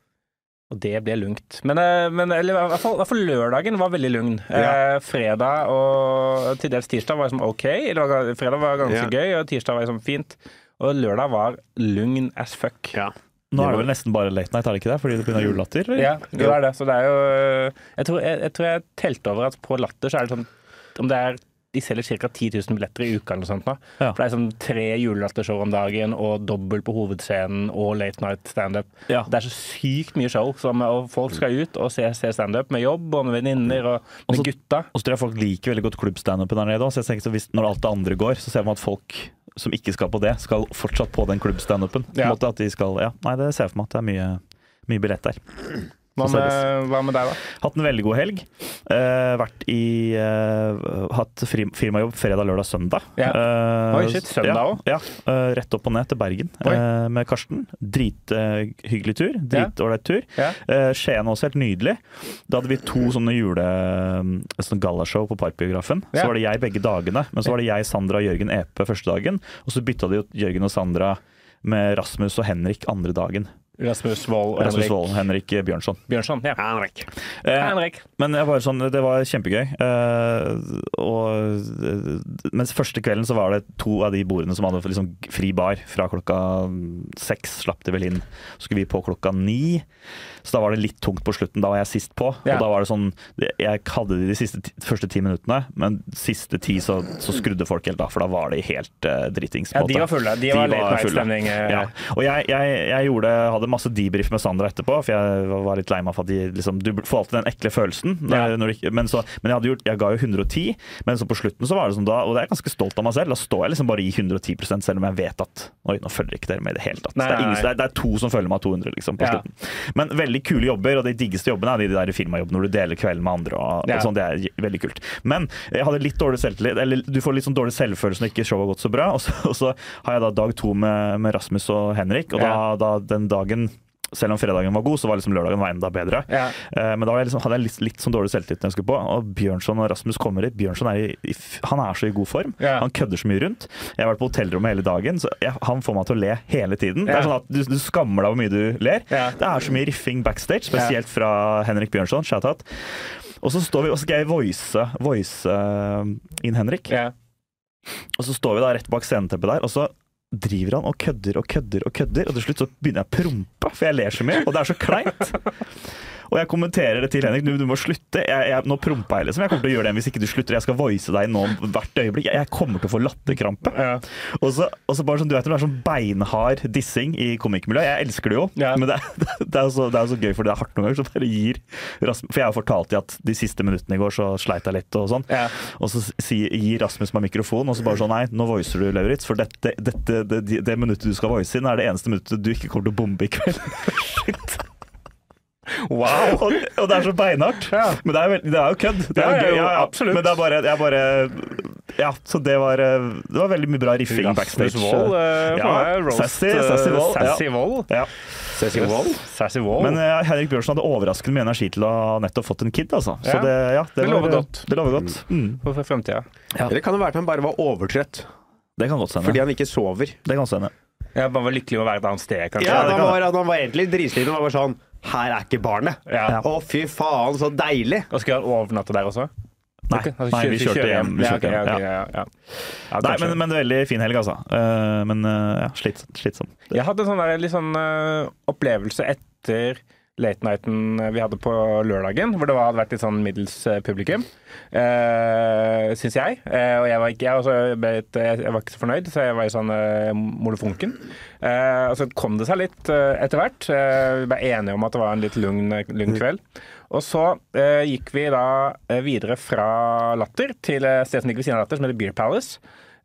B: Og det ble lungt. Men, eh, men eller, i hvert fall- i hvert fall lørdagen var veldig lugn. Eh, fredag og til dels tirsdag var liksom ok. Eller, var- fredag var ganske
C: Ja.
B: gøy, og tirsdag var liksom fint. Og lørdag var lugn as fuck.
C: Ja.
A: Nå er det vel nesten bare late night, er det ikke det? Fordi det begynner julelatter? eller?
B: Ja, det er det. Så det er jo eh, Jeg tror jeg, jeg, tror jeg telte over at på Latter så er det sånn Om det er De selger ca. 10 000 billetter i uka eller noe sånt nå.
A: Ja.
B: For det er sånn tre julelattershow om dagen og dobbel på hovedscenen og late night standup.
A: Ja.
B: Det er så sykt mye show, som, og folk skal ut og se, se standup med jobb og med venninner Mm. og med
A: Også-
B: gutta.
A: Og så tror jeg folk liker veldig godt klubbstandupen der nede også, så jeg tenker så hvis, når alt det andre går, så ser man at folk som ikke skal på det, skal fortsatt på den klubbstandupen. På en
B: Ja.
A: måte at de skal, ja, nei, det ser jeg for meg at det er mye, mye billett der.
B: Hva
A: Så
B: med, hva med deg, da?
A: Hatt en veldig god helg. Eh, vært i eh, Hatt fri, firmajobb fredag, lørdag, søndag.
B: Ja.
A: Eh,
B: Oi, shit, søndag
A: ja,
B: også?
A: Ja. Eh, rett opp og ned til Bergen
B: Oi.
A: eh, med Karsten. Drithyggelig tur. Dritålreit tur.
B: Ja.
A: Eh, Skien også, helt nydelig. Da hadde vi to sånne jule... Sånn gallashow på Parkbiografen.
B: Ja.
A: Så var det jeg begge dagene, men så var det jeg, Sandra og Jørgen Epe første dagen. Og så bytta de ut Jørgen og Sandra med Rasmus og Henrik andre dagen.
B: Rasmus Wold og
A: Rasmus
B: Henrik
A: Wold, Henrik Bjørnson.
B: Bjørnson. Ja.
C: Henrik.
A: Eh,
B: Henrik.
A: men jeg var sånn, det var kjempegøy. Eh, og, eh, mens første kvelden så var det to av de bordene som hadde liksom fri bar. Fra klokka seks slapp de vel inn. Så skulle vi på klokka ni. Så da var det litt tungt på slutten. Da var jeg sist på.
B: Ja.
A: Og da var det sånn Jeg hadde de, de siste, ti- første ti minuttene, men siste ti så, så skrudde folk helt av, for da var de helt eh, dritings. på
B: Ja,
A: en
B: de
A: måte.
B: var fulle. De,
A: De
B: var
A: var
B: late
A: fulle.
B: night-stemning. eh.
A: Ja. Og jeg, jeg, jeg gjorde, hadde hadde masse debrief med Sandra etterpå, for jeg var- var litt lei meg for at de liksom, du får alltid den ekle følelsen.
B: Ja.
A: Når du ikke- men, så, men jeg, hadde gjort, jeg ga jo 110, men så på slutten så var det sånn da, og det er jeg ganske stolt av meg selv, da står jeg liksom bare i 110 selv om jeg vet at Oi, nå følger ikke dere med i det hele tatt.
B: Nei,
A: det, er
B: nei,
A: ingen, det,
B: nei.
A: er, det er to som følger meg 200, liksom, på
B: Ja.
A: slutten. Men veldig kule jobber, og de diggeste jobbene er de der firmajobbene hvor du deler kvelden med andre. og,
B: Ja.
A: og sånn, Det er veldig kult. Men jeg hadde litt dårlig selvtillit, eller du får litt sånn dårlig selvfølelse når ikke showet har gått så bra. Og så, og så har jeg da dag to med, med Rasmus og Henrik, og da,
B: Ja.
A: da den dagen selv om fredagen var god, så var liksom lørdagen var enda bedre.
B: Ja.
A: Eh, Men da var jeg liksom, hadde jeg litt, litt sånn dårlig selvtillit. når jeg skulle på, Og Bjørnson og Rasmus kommer hit. Bjørnson er, i, i, f- han er så i god form.
B: Ja.
A: Han kødder så mye rundt. Jeg har vært på hotellrommet hele dagen, så jeg, han får meg til å le hele tiden. Det
B: Ja.
A: er sånn at du, du skammer deg hvor mye du ler.
B: Ja.
A: Det er så mye riffing backstage, spesielt fra Henrik Bjørnson. Shoutout. Og så står vi, og så skal jeg voice, voice eh, inn Henrik.
B: Ja.
A: Og så står vi da rett bak sceneteppet der, og så driver han og kødder og kødder og kødder, og til slutt så begynner jeg å prompe, for jeg ler så mye, og det er så kleint. Og jeg kommenterer det til Henrik, du, du må slutte. Jeg, jeg, nå prompa jeg, liksom. Jeg kommer til å gjøre det hvis ikke du slutter. Jeg skal voice deg nå hvert øyeblikk. Jeg, jeg kommer til å få latterkrampe.
B: Ja.
A: Og så, og så bare sånn, du vet, når det er sånn beinhard dissing i komikermiljøet. Jeg elsker det jo,
B: Ja.
A: men det, er- [laughs] det er jo så, det er jo så gøy, for det er hardt noen ganger. Så bare gir Rasmus, for jeg har fortalt dem at de siste minuttene i går så sleit jeg litt og sånn.
B: Ja.
A: Og så sier, gir Rasmus meg mikrofon, og så bare sånn Nei, nå voicer du, Lauritz, for dette, dette, det, det minuttet du skal voice inn, er det eneste minuttet du ikke kommer til å bombe i kveld.
B: Wow!
A: Og, og det er så beinhardt.
B: Ja.
A: Men det er, vel- det er jo kødd. Det er jo
B: Ja, ja,
A: gøy.
B: jo,
A: Ja, ja.
B: absolutt.
A: Men det er bare, jeg bare Ja, så det var, eh, det var veldig mye bra riffing
B: Rasmus
A: backstage.
B: Wold. eh,
A: Ja,
B: for meg, roast,
A: sassy-
B: eh,
A: sassy Wold, ja.
B: Sassy Wold.
A: Ja.
C: Sassy Wall.
B: Sassy Wold.
A: Men eh, Henrik Bjørnsen hadde overraskende mye energi til å ha nettopp fått en kid, altså. Så
B: Ja.
A: det, ja, det,
B: Det
A: var-
B: lover godt.
A: Det lover godt. Mm.
B: for for fremtida.
C: Eller kan det være at han bare var overtrøtt
A: Det kan godt hende.
C: fordi han ikke sover?
A: Det kan godt hende.
B: Jeg bare var lykkelig med å være et annet sted, kanskje.
C: Ja,
A: det
C: han
A: kan
C: var, han var egentlig dritsliten og var bare sånn Her er ikke barnet.
B: Ja.
C: Å, fy faen, så deilig!
B: Og skal han overnatte der også?
A: Nei,
B: Ok, altså,
A: nei, vi
B: kjø-
A: kjørte hjem. Vi
B: Ja,
A: kjørte
B: ok,
A: hjem.
B: ja,
A: Ja.
B: ok, ja, ja. Ja,
A: Nei,
B: kanskje.
A: men, men det er veldig fin helg, altså. Eh, men eh, ja, slits, slitsom.
B: Jeg hadde en sånn der, litt sånn eh, opplevelse etter late nighten eh, vi hadde på lørdagen, hvor det var, hadde vært litt sånn middels eh, publikum, uh, syns jeg. Eh, og jeg var, ikke, jeg, også ble litt- jeg, jeg var ikke så fornøyd, så jeg var i sånn uh, molefonken. Eh, og så kom det seg litt eh, etter hvert. Eh, vi ble enige om at det var en litt lugn, eh, lugn kveld. Og så eh, gikk vi da eh, videre fra Latter til eh, stedet som ligger ved siden av Latter, som heter Beer Palace.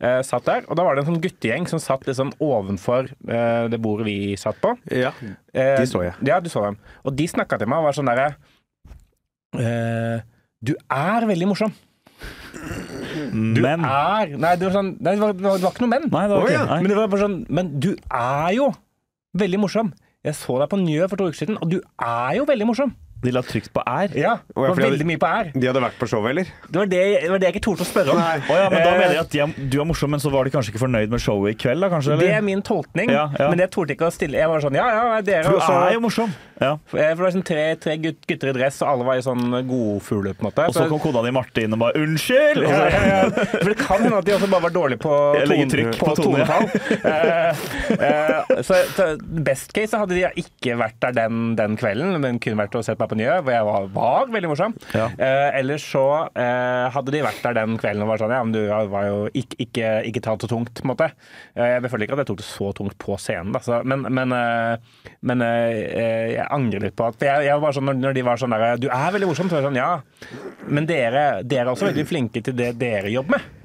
B: Eh, satt der, og da var det en sånn guttegjeng som satt liksom ovenfor eh, det bordet vi satt på.
C: Ja.
B: Eh,
C: De så jeg.
B: Ja, du så dem. Og de snakka til meg og var sånn derre eh, Du er veldig morsom.
A: Men
B: Er Nei, det var, sånn, nei, det var, det var, det var ikke noe men.
A: Mm. Nei, det var
C: Å,
A: ok.
C: ja.
A: Nei.
B: Men det var bare sånn Men du er jo veldig morsom. Jeg så deg på Njø for to uker siden, og du er jo veldig morsom.
A: De la trygt på R.
B: Ja, det
C: Å, ja,
B: var
C: fordi jeg-
B: veldig mye på er.
C: De hadde vært på showet, eller?
B: Det var det, det, var det jeg ikke torde å spørre om.
C: Nei.
A: Å ja, men da
B: Eh,
A: mener jeg at de er, du er morsom, men så var de kanskje ikke fornøyd med showet i kveld, da, kanskje?
B: Det er
A: Eller?
B: min tolkning,
A: Ja, ja.
B: men jeg torde ikke å stille Jeg var sånn Ja, ja, nei, dere
A: Du
B: og så-
A: er jo morsom! Ja.
B: For det var sånn tre, tre gutt, gutter i dress, og alle var i sånn godfugler, på en måte.
A: Og så kom kona di Marte inn og bare 'unnskyld'!
B: ja,
A: Og så,
B: ja, ja. [laughs] For det kan hende at de også bare var dårlige på,
A: Jeg legger trykk på tone, ja. [laughs]
B: tonefall. Eh, eh, så, så best case så hadde de ikke vært der den, den kvelden, men kunne vært og sett meg på Njø, hvor jeg var, var veldig morsom.
A: Ja.
B: Eh, ellers så eh, hadde de vært der den kvelden og var sånn Ja, men du var jo ikke, ikke, ikke tatt så tungt, på en måte. Eh, jeg føler ikke at jeg tok det så tungt på scenen, da. Så, men men, eh, men eh, jeg angrer litt på at for jeg, jeg var sånn, når, når de var sånn der Du er veldig morsom, så var jeg sånn Ja, men dere, dere er også veldig flinke til det dere jobber med.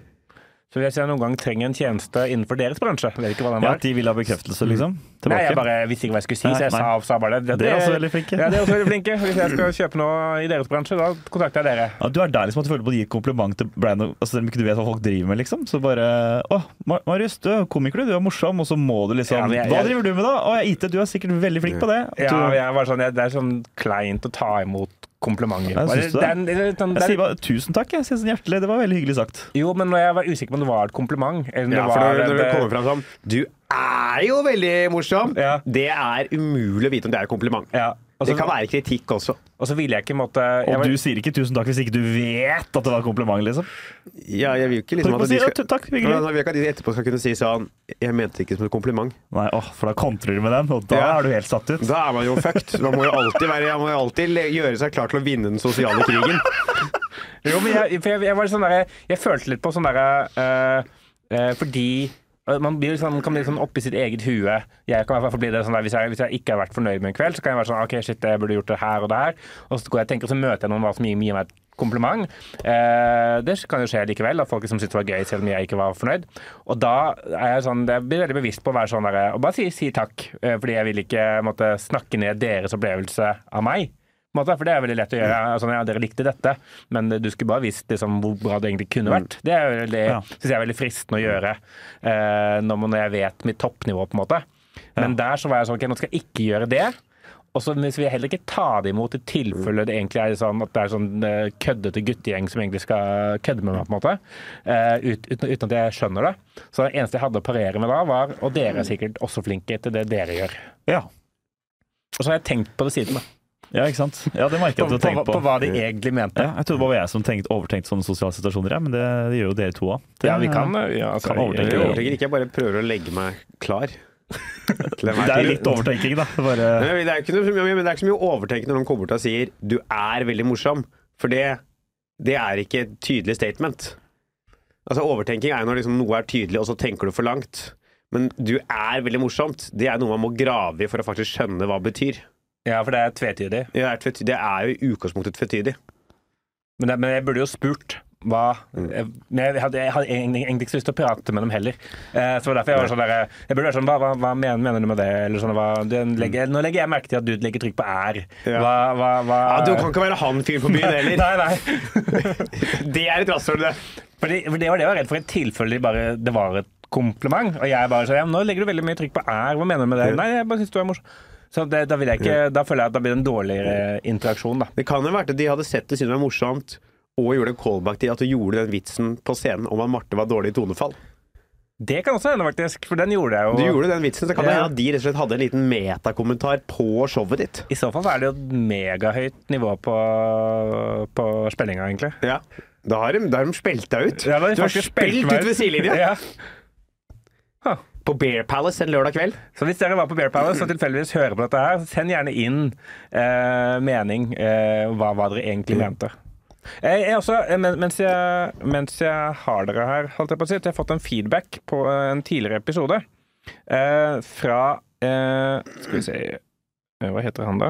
B: Så hvis jeg noen gang trenger en tjeneste innenfor deres bransje Vet ikke hva den
A: ja,
B: var.
A: at de vil ha bekreftelse, liksom?
B: Mm. Nei, jeg
A: Tilbake.
B: bare visste ikke hva jeg skulle si, så jeg
A: Nei,
B: sa,
A: nei.
B: sa bare det.
A: Dere er også veldig flinke.
B: Ja, dere er også veldig flinke. Hvis jeg skal kjøpe noe i deres bransje, da kontakter jeg dere.
A: Ja, du er der liksom at du føler på å gi et kompliment til Brian, altså, selv om ikke du vet hva folk driver med, liksom. Så bare 'Å, Mar- Marius, du er komiker, du. Du er morsom.' Og så må du liksom
B: Ja, men jeg-
A: 'Hva
B: jeg-
A: driver du med, da?' 'Å, jeg er IT. Du er sikkert veldig flink på det.'
B: Ja,
A: Du-
B: jeg var sånn, jeg, det er sånn kleint å ta imot komplimenter.
A: Ja, syns du det?
B: er en- det er litt sånn- det
A: Jeg sier
B: er-
A: bare 'tusen takk', jeg. Sier sånn hjertelig. Det var veldig hyggelig sagt.
B: Jo, men når jeg var usikker på om det var et kompliment eller om
C: Ja,
B: det
C: for
B: var eh,
C: når, når det
B: en-
C: kommer fram sånn Du er jo veldig morsom!
B: Ja.
C: Det er umulig å vite om det er et kompliment.
B: ja, og,
C: Det
B: så,
C: kan være kritikk også.
B: og så ville jeg ikke måtte jeg
A: Og
B: var-
A: du sier ikke 'tusen takk' hvis ikke du vet at det var et kompliment, liksom.
C: Ja, jeg vil jo ikke
A: Trykk
C: liksom
A: på
C: at de
A: si,
C: skal
A: «Å, takk,
C: Men
A: hyggelig.
C: jeg vil ikke at de etterpå skal kunne si sånn Jeg mente det ikke som et kompliment.
A: Nei, åh, for da kontrer du med den, og da
C: Ja.
A: er du helt satt ut.
C: Da er man jo fucked. Man må jo alltid, være, man må jo alltid le- gjøre seg klar til å vinne den sosiale krigen.
B: Jo, men jeg, for jeg, jeg var sånn der, jeg følte litt på sånn derre eh, eh, Fordi Man blir sånn, kan bli sånn oppi sitt eget hue. Jeg kan i hvert fall bli det sånn der, hvis jeg, hvis jeg ikke har vært fornøyd med en kveld, så kan jeg være sånn OK, shit, jeg burde gjort det her og der. Og så går jeg og tenker, og så møter jeg noen hva som gir, gir meg et kompliment. Eh, det kan jo skje likevel, at folk som syntes det var gøy, selv om jeg ikke var fornøyd. Og da er jeg sånn, jeg blir veldig bevisst på å være sånn der, og bare si, si takk. eh, Fordi jeg vil ikke måtte snakke ned deres opplevelse av meg. på en måte, For det er veldig lett å gjøre.
A: Mm.
B: Sånn, ja, dere likte dette, men du skulle bare visst liksom, hvor bra det egentlig kunne vært. Det er veldig,
A: Mm. Ja. Mm.
B: synes jeg er veldig fristende å gjøre eh, når, man, når jeg vet mitt toppnivå, på en måte. Men der så var jeg sånn, ok, nå skal jeg ikke gjøre det. Og så vil jeg heller ikke ta det imot i tilfelle det egentlig er sånn at det er sånn eh, køddete guttegjeng som egentlig skal kødde med meg, på en måte. Eh, ut, uten, uten at jeg skjønner det. Så det eneste jeg hadde å parere med da, var Og dere er sikkert også flinke til det dere gjør.
A: Ja.
B: Og så har jeg tenkt på det siden, da.
A: ja, ikke sant? Ja, det merker
B: På,
A: jeg at du
B: på,
A: har tenkt
B: på,
A: på.
B: hva de egentlig mente.
A: Ja, jeg trodde bare det var jeg som tenkte, overtenkte sånne sosiale situasjoner, ja, men det, det gjør jo dere to òg.
B: Ja, vi kan, ja, altså,
A: Kan overtenke
C: Jeg
B: jo,
C: overtenker ikke, jeg bare prøver å legge meg klar. Til enhver
A: Det er
C: tid.
A: litt overtenking, da. Det er Bare,
C: Nei, men Det er ikke noe, men det er ikke så mye å overtenke når noen kommer bort og sier 'du er veldig morsom', for det, det er ikke et tydelig statement. Altså Overtenking er jo når liksom noe er tydelig, og så tenker du for langt. Men 'du er veldig morsomt', det er noe man må grave i for å faktisk skjønne hva det betyr.
B: ja, for det er tvetydig.
C: Det er, tvetydig- det er jo i utgangspunktet tvetydig.
B: Men, det, men jeg burde jo spurt hva
C: Mm.
B: jeg, men jeg hadde, jeg hadde egentlig, egentlig ikke så lyst til å prate med dem heller. Eh, så det var derfor jeg var sånn der, eh, Jeg burde være sånn Hva, hva, hva mener, mener du med det? Eller sånn, hva, du, legger, nå legger jeg merke til at du legger trykk på er.
C: Mm. Ja.
B: Hva, hva, hva
C: Ja, Du kan ikke være han fyren på byen heller!
B: [laughs] Nei, nei.
C: Det er et rasshøl, det!
B: Fordi, for det var det jeg var redd for, i tilfelle de bare, det var et kompliment. Og jeg bare sa ja, men nå legger du veldig mye trykk på er, hva mener du med det? Nei, jeg bare syns du er morsom. Så det, da, vil jeg ikke, da føler jeg at da blir det en dårligere interaksjon, da.
C: Det kan jo være at de hadde sett det siden det var morsomt, og gjorde en callback til at du gjorde den vitsen på scenen om at Marte var dårlig i tonefall.
B: Det kan også hende, faktisk, for den gjorde jeg jo.
C: Du gjorde den vitsen, så kan det
B: Ja.
C: hende at de rett og slett hadde en liten metakommentar på showet ditt.
B: I så fall så er det jo et megahøyt nivå på, på spillinga, egentlig.
C: Ja. Da har de, da har de spilt deg ut.
B: Ja, da har de
C: du har
B: faktisk
C: spilt,
B: spilt
C: ut
B: meg ut.
C: ved sidelinja!
B: Ja.
C: På Bear Palace en lørdag kveld.
B: Så hvis dere var på Bear Palace og tilfeldigvis hører på dette her, send gjerne inn eh, mening eh, hva, hva dere egentlig mente. Jeg, jeg også, eh, men, mens, jeg, mens jeg har dere her, holdt jeg på å si, at jeg har fått en feedback på en tidligere episode eh, fra eh, Skal vi se eh, Hva heter han, da?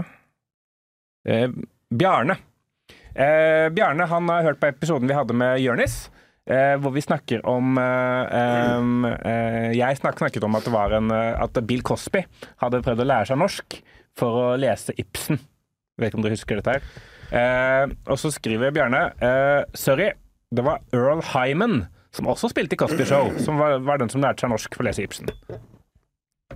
B: Eh, Bjarne. Eh, Bjarne han har hørt på episoden vi hadde med Jørnis. Eh, hvor vi snakker om eh, em, eh, Jeg snak, snakket om at, det var en, eh, at Bill Cosby hadde prøvd å lære seg norsk for å lese Ibsen. Vet ikke om dere husker dette her. Eh, og så skriver Bjarne eh, Sorry, det var Earl Hyman som også spilte i Cosby Show, som var, var den som lærte seg norsk for å lese Ibsen.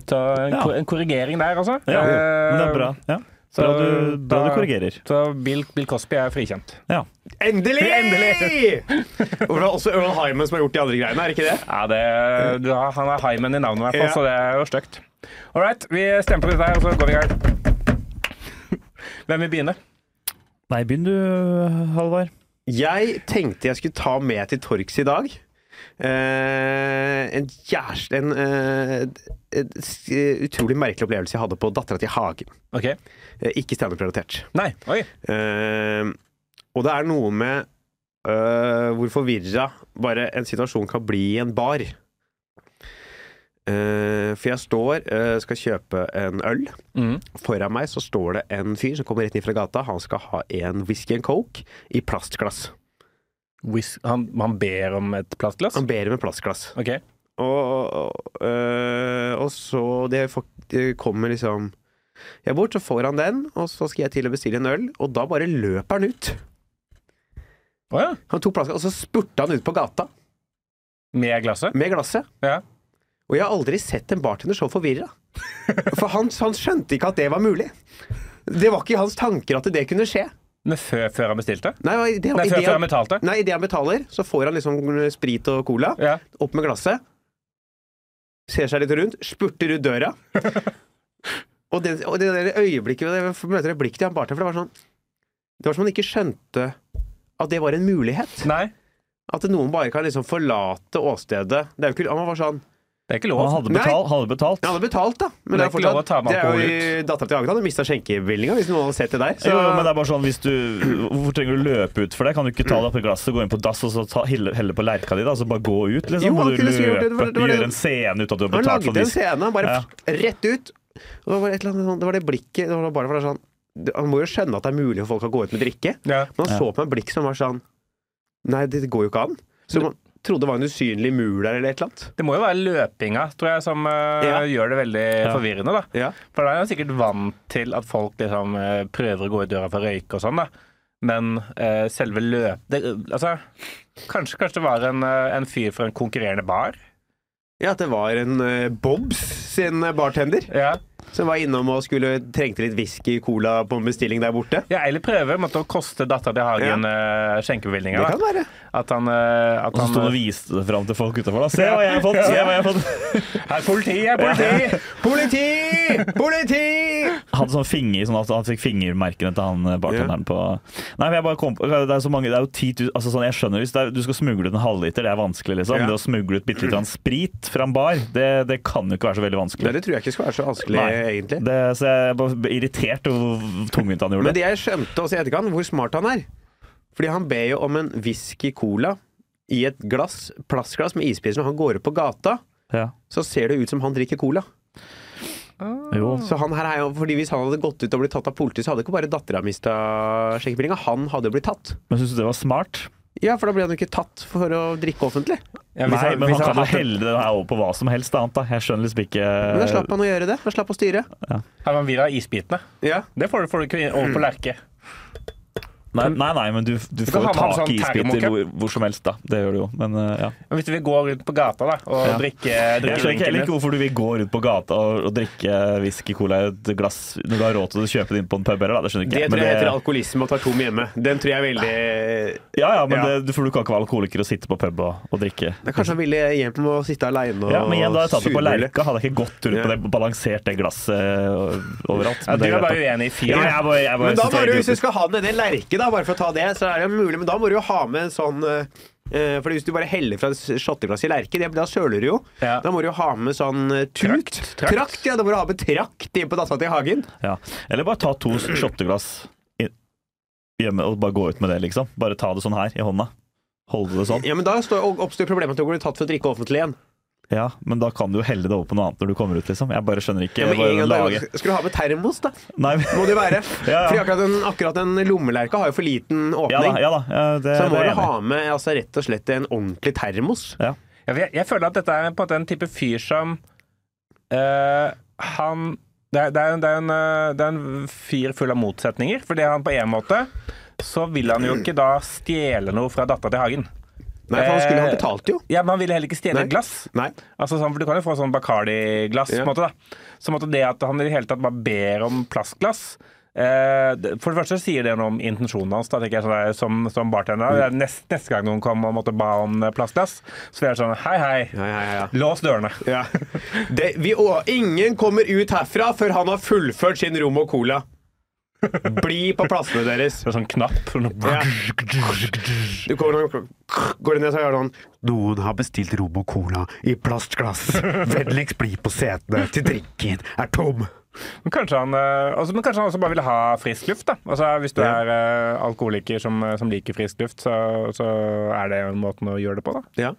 B: Så en,
A: Ja.
B: kor- en korrigering der, altså.
A: ja, men det er bra. Ja. Bra
B: så
A: du, bra
B: da-
A: du korrigerer.
B: Så Bill, Bill Cosby er frikjent.
A: Ja.
C: [laughs] Endelig!
B: Endelig!
C: og det er også Earl Hyman som har gjort de andre greiene, er det ikke det?
B: Ja, det, du har, Han har Hyman i navnet, i hvert fall, så
C: Ja.
B: det er jo stygt. All right, vi stemmer på dette, her, og så går vi i gang. [laughs] Hvem vil begynne?
A: Nei, begynn du, Halvard.
C: Jeg tenkte jeg skulle ta med til Torks i dag. Eh, en kjæreste En eh, et s- utrolig merkelig opplevelse jeg hadde på Dattera til Hagen.
B: Ok.
C: Eh, ikke standup-relatert.
B: Nei, oi.
C: Eh, og det er noe med eh, hvor forvirra bare en situasjon kan bli i en bar. Eh, for jeg står, eh, skal kjøpe en øl.
B: Mm.
C: Foran meg så står det en fyr som kommer rett inn fra gata. Han skal ha en whisky and coke i plastglass.
B: Whis- Han, han ber om et plastglass?
C: Han ber om en plastglass.
B: Ok.
C: Og, og, øh, og så det, får- det kommer liksom jeg bort, så får han den, og så skal jeg til å bestille en øl, og da bare løper han ut.
B: Å ja.
C: Han tok plassen, og så spurte han ut på gata
B: Med glasset?
C: med glasset.
B: Ja.
C: Og jeg har aldri sett en bartender så forvirra. For han, han skjønte ikke at det var mulig. Det var ikke i hans tanker at det kunne skje.
B: Men før, før han bestilte?
C: Nei, og i det,
B: Nei,
C: i
B: før,
C: det,
B: før han
C: han-
B: betalte?
C: nei, i det han betaler, så får han liksom sprit og cola.
B: Ja.
C: opp med glasset, ser seg litt rundt, spurter ut
B: [laughs]
C: døra. og, det, og det der øyeblikket og det- jeg møter det blikket til han bartenderen, for det var sånn Det var som han ikke skjønte at det var en mulighet.
B: Nei.
C: At noen bare kan liksom forlate åstedet. Det er jo ikke, han var sånn
B: Det er ikke
A: Og han
B: lov.
A: hadde
C: Nei.
A: betalt. Hadde betalt.
C: Ja, han hadde betalt, da.
B: Men det er ikke lov å ta med
C: det er jo
B: alkohol
C: i- Dattera til Agatha hadde mista skjenkebevillinga hvis noen hadde sett det der. Så
A: Jo, jo, men det er bare sånn, hvis du, Hvorfor trenger du å løpe ut for det? Kan du ikke ta det opp i glasset, gå inn på dass og så ta, helle, helle på lerka di? da, så Bare gå ut, liksom?
C: Jo,
A: Må du
C: han kunne sikkert gjort det, det var- det var det-
A: gjøre en scene ut av at du har
C: han
A: betalt
C: lagde
A: for
C: en
A: det?
C: scene, han bare
A: Ja.
C: f- rett ut. Og det var, et eller annet, sånn- det var det blikket det var bare for det sånn, det- Han må jo skjønne at det er mulig for folk å gå ut med drikke.
B: Ja.
C: Men
A: Ja.
C: han så på meg et blikk som var sånn Nei, det går jo ikke an. Så man trodde det var en usynlig mur der, eller et eller annet.
B: Det må jo være løpinga tror jeg, som eh,
C: Ja.
B: gjør det veldig
A: Ja.
B: forvirrende. da.
C: Ja.
B: For da er jeg sikkert vant til at folk liksom, eh, prøver å gå i døra for å røyke og sånn, da. Men eh, selve løp... Det, altså, kanskje, kanskje det var en, eh, en fyr fra en konkurrerende bar?
C: at det var en eh, Bobs sin eh, bartender
B: Ja.
C: som var innom og skulle trengte litt whisky, cola på en bestilling der borte.
B: ja eller prøver måtte å koste dattera til Hagen ja. skjenkebevilgninga.
C: Det
B: da.
C: kan være.
B: At han, eh, at
A: Og så sto
B: han
A: han og viste det fram til folk utafor. Se hva jeg har fått! Se hva jeg har fått.
B: Her, politi! Her, politi!
C: Politi! Politi!
A: Han hadde sånn finger, sånn at han fikk fingermerkene til han eh, bartenderen på Nei, men jeg bare kom på Det er så mange, det er jo 10 000 altså sånn, Jeg skjønner hvis det er, du skal smugle ut en halvliter, det er vanskelig, liksom.
C: Ja.
A: Det å smugle ut bitte litt grann sprit fra en bar, det, det kan jo ikke være så veldig vanskelig.
C: Nei, det tror jeg ikke skal være så vanskelig,
A: Nei.
C: egentlig.
A: Det, så jeg ble irritert over hvor tungvint han gjorde
C: Men
A: det.
C: det jeg skjønte også i etterkant, hvor smart han er. Fordi han ber jo om en whisky cola i et glass, plastglass med ispis. Når han går ut på gata,
A: Ja.
C: så ser det ut som han drikker cola.
A: Jo.
C: Så han her er jo, fordi Hvis han hadde gått ut og blitt tatt av politiet, så hadde ikke bare dattera mista skjenkebevillinga. Han hadde blitt tatt.
A: Men syns du det var smart?
C: Ja, for da ble han jo ikke tatt for å drikke offentlig.
B: [laughs] Ja, hvis
A: Nei,
B: han-
A: men
B: hvis
A: han kan
B: han
A: jo
B: hadde-
A: helle det her over på hva som helst annet, da. Jeg skjønner liksom ikke
C: Men da slapp han å gjøre det. Han slapp å styre.
B: Her var videre isbitene.
C: Ja.
B: Det får du, får du ikke over på lerke.
A: Nei, nei, nei men du, du
B: Mm.
A: får
B: kan
A: jo
B: ha med
A: tak i
B: en sånn
A: isbiter
B: termocup.
A: hvor, hvor som helst, da. Det gjør du jo. Men eh, ja.
B: Men hvis vi går rundt på gata da, og
A: Ja.
B: drikker,
A: Jeg
B: drikker
A: skjønner ikke heller
B: drinkene
A: ikke hvorfor du vil gå rundt på gata og, og drikke whisky, cola i et glass når du har råd til å kjøpe det inn på en pub heller, da. Det skjønner
C: Det
A: ikke jeg.
C: tror
A: Men
C: jeg heter
A: det,
C: alkoholisme og tar tom hjemme. Den tror jeg er veldig
A: ja, ja, men
B: Ja.
A: Det, for du kan ikke være alkoholiker og sitte på pub og, og drikke.
C: Det er Kanskje han ville hjem og sitte aleine og
A: Ja, men igjen, da har jeg tatt det på
C: surmule.
A: lerka. Hadde jeg ikke gått rundt
C: Ja.
A: på det, balansert det glasset eh, overalt.
B: ja,
A: men
B: Du
A: det
B: er
A: greit, da.
B: bare uenig i
A: Ja,
B: fyren.
A: jeg bare, jeg bare
C: Men da
A: synes
C: må
A: det er
C: du, hvis du
A: idiotisk.
C: skal ha ned det lerket, da, bare for å ta det, så er det jo mulig. Men da må du jo ha med en sånn eh, eh, For hvis du bare heller fra et shotteglass i lerket, det- da søler du jo.
B: Ja.
C: Da må du jo ha med sånn eh, tut.
B: Trakt,
C: Trakt.
B: trakt.
C: ja. Da må du ha med trakt inn på dattera til Hagen.
A: Ja. Eller bare ta to shotteglass i- hjemme og bare gå ut med det, liksom. Bare ta det sånn her i hånda. Holde det sånn.
C: Ja, men da står, og oppstår problemet at du blir tatt for å drikke offentlig igjen.
A: Ja, men da kan du jo helle det over på noe annet når du kommer ut, liksom. Jeg bare skjønner ikke.
C: Ja, men
A: bare
C: en gang da-
A: lager-
C: Skal du ha med termos, da?
A: Nei, men-
C: [laughs] Må det jo være.
A: [laughs] Ja, ja.
C: Fordi akkurat den, akkurat den lommelerka har jo for liten
A: Ja da,
C: åpning.
A: ja da. Ja, det,
C: Så da
A: det
C: må
A: er
C: du
A: jeg enig.
C: ha med altså, rett og slett en ordentlig termos.
A: i. Ja.
B: Ja, for jeg, jeg føler at dette er på en måte en type fyr som eh, Han det er, det, er en, det, er en, eh, det er en fyr full av motsetninger. Fordi han på en måte så vil han jo ikke da stjele noe fra dattera til Hagen.
C: Nei, for han skulle ha
B: Eh,
C: betalt, jo.
B: Ja, Men han ville heller ikke stjele
C: Nei.
B: et glass.
C: Nei.
B: Altså sånn, for Du kan jo få sånn Bacardi-glass.
C: Ja.
B: på en måte da. Så på en måte det at han i det hele tatt bare ber om plastglass eh, det- For det første sier det noe om intensjonen hans da, tenker jeg, sånn der, som, som bartender. Det er Nest, neste gang noen kom og måtte ba om eh, plastglass, så det er sånn Hei, hei,
C: Ja, ja, ja, ja.
B: lås dørene.
C: Ja. Det, vi, å, ingen kommer ut herfra før han har fullført sin rom og cola. Bli på plassene deres.
B: Det er sånn knapp. Sånn,
C: Ja. Du kommer og går ned og gjør sånn Noen har bestilt rom og cola i plastglass. Vennligst bli på setene til drikken er tom.
B: [laughs] Men kanskje han, eh, altså, men kanskje han også bare ville ha frisk luft, da. Altså, hvis du
C: Ja.
B: er eh, alkoholiker som, som liker frisk luft, så, så er det en måten å gjøre det på, da.
C: Ja.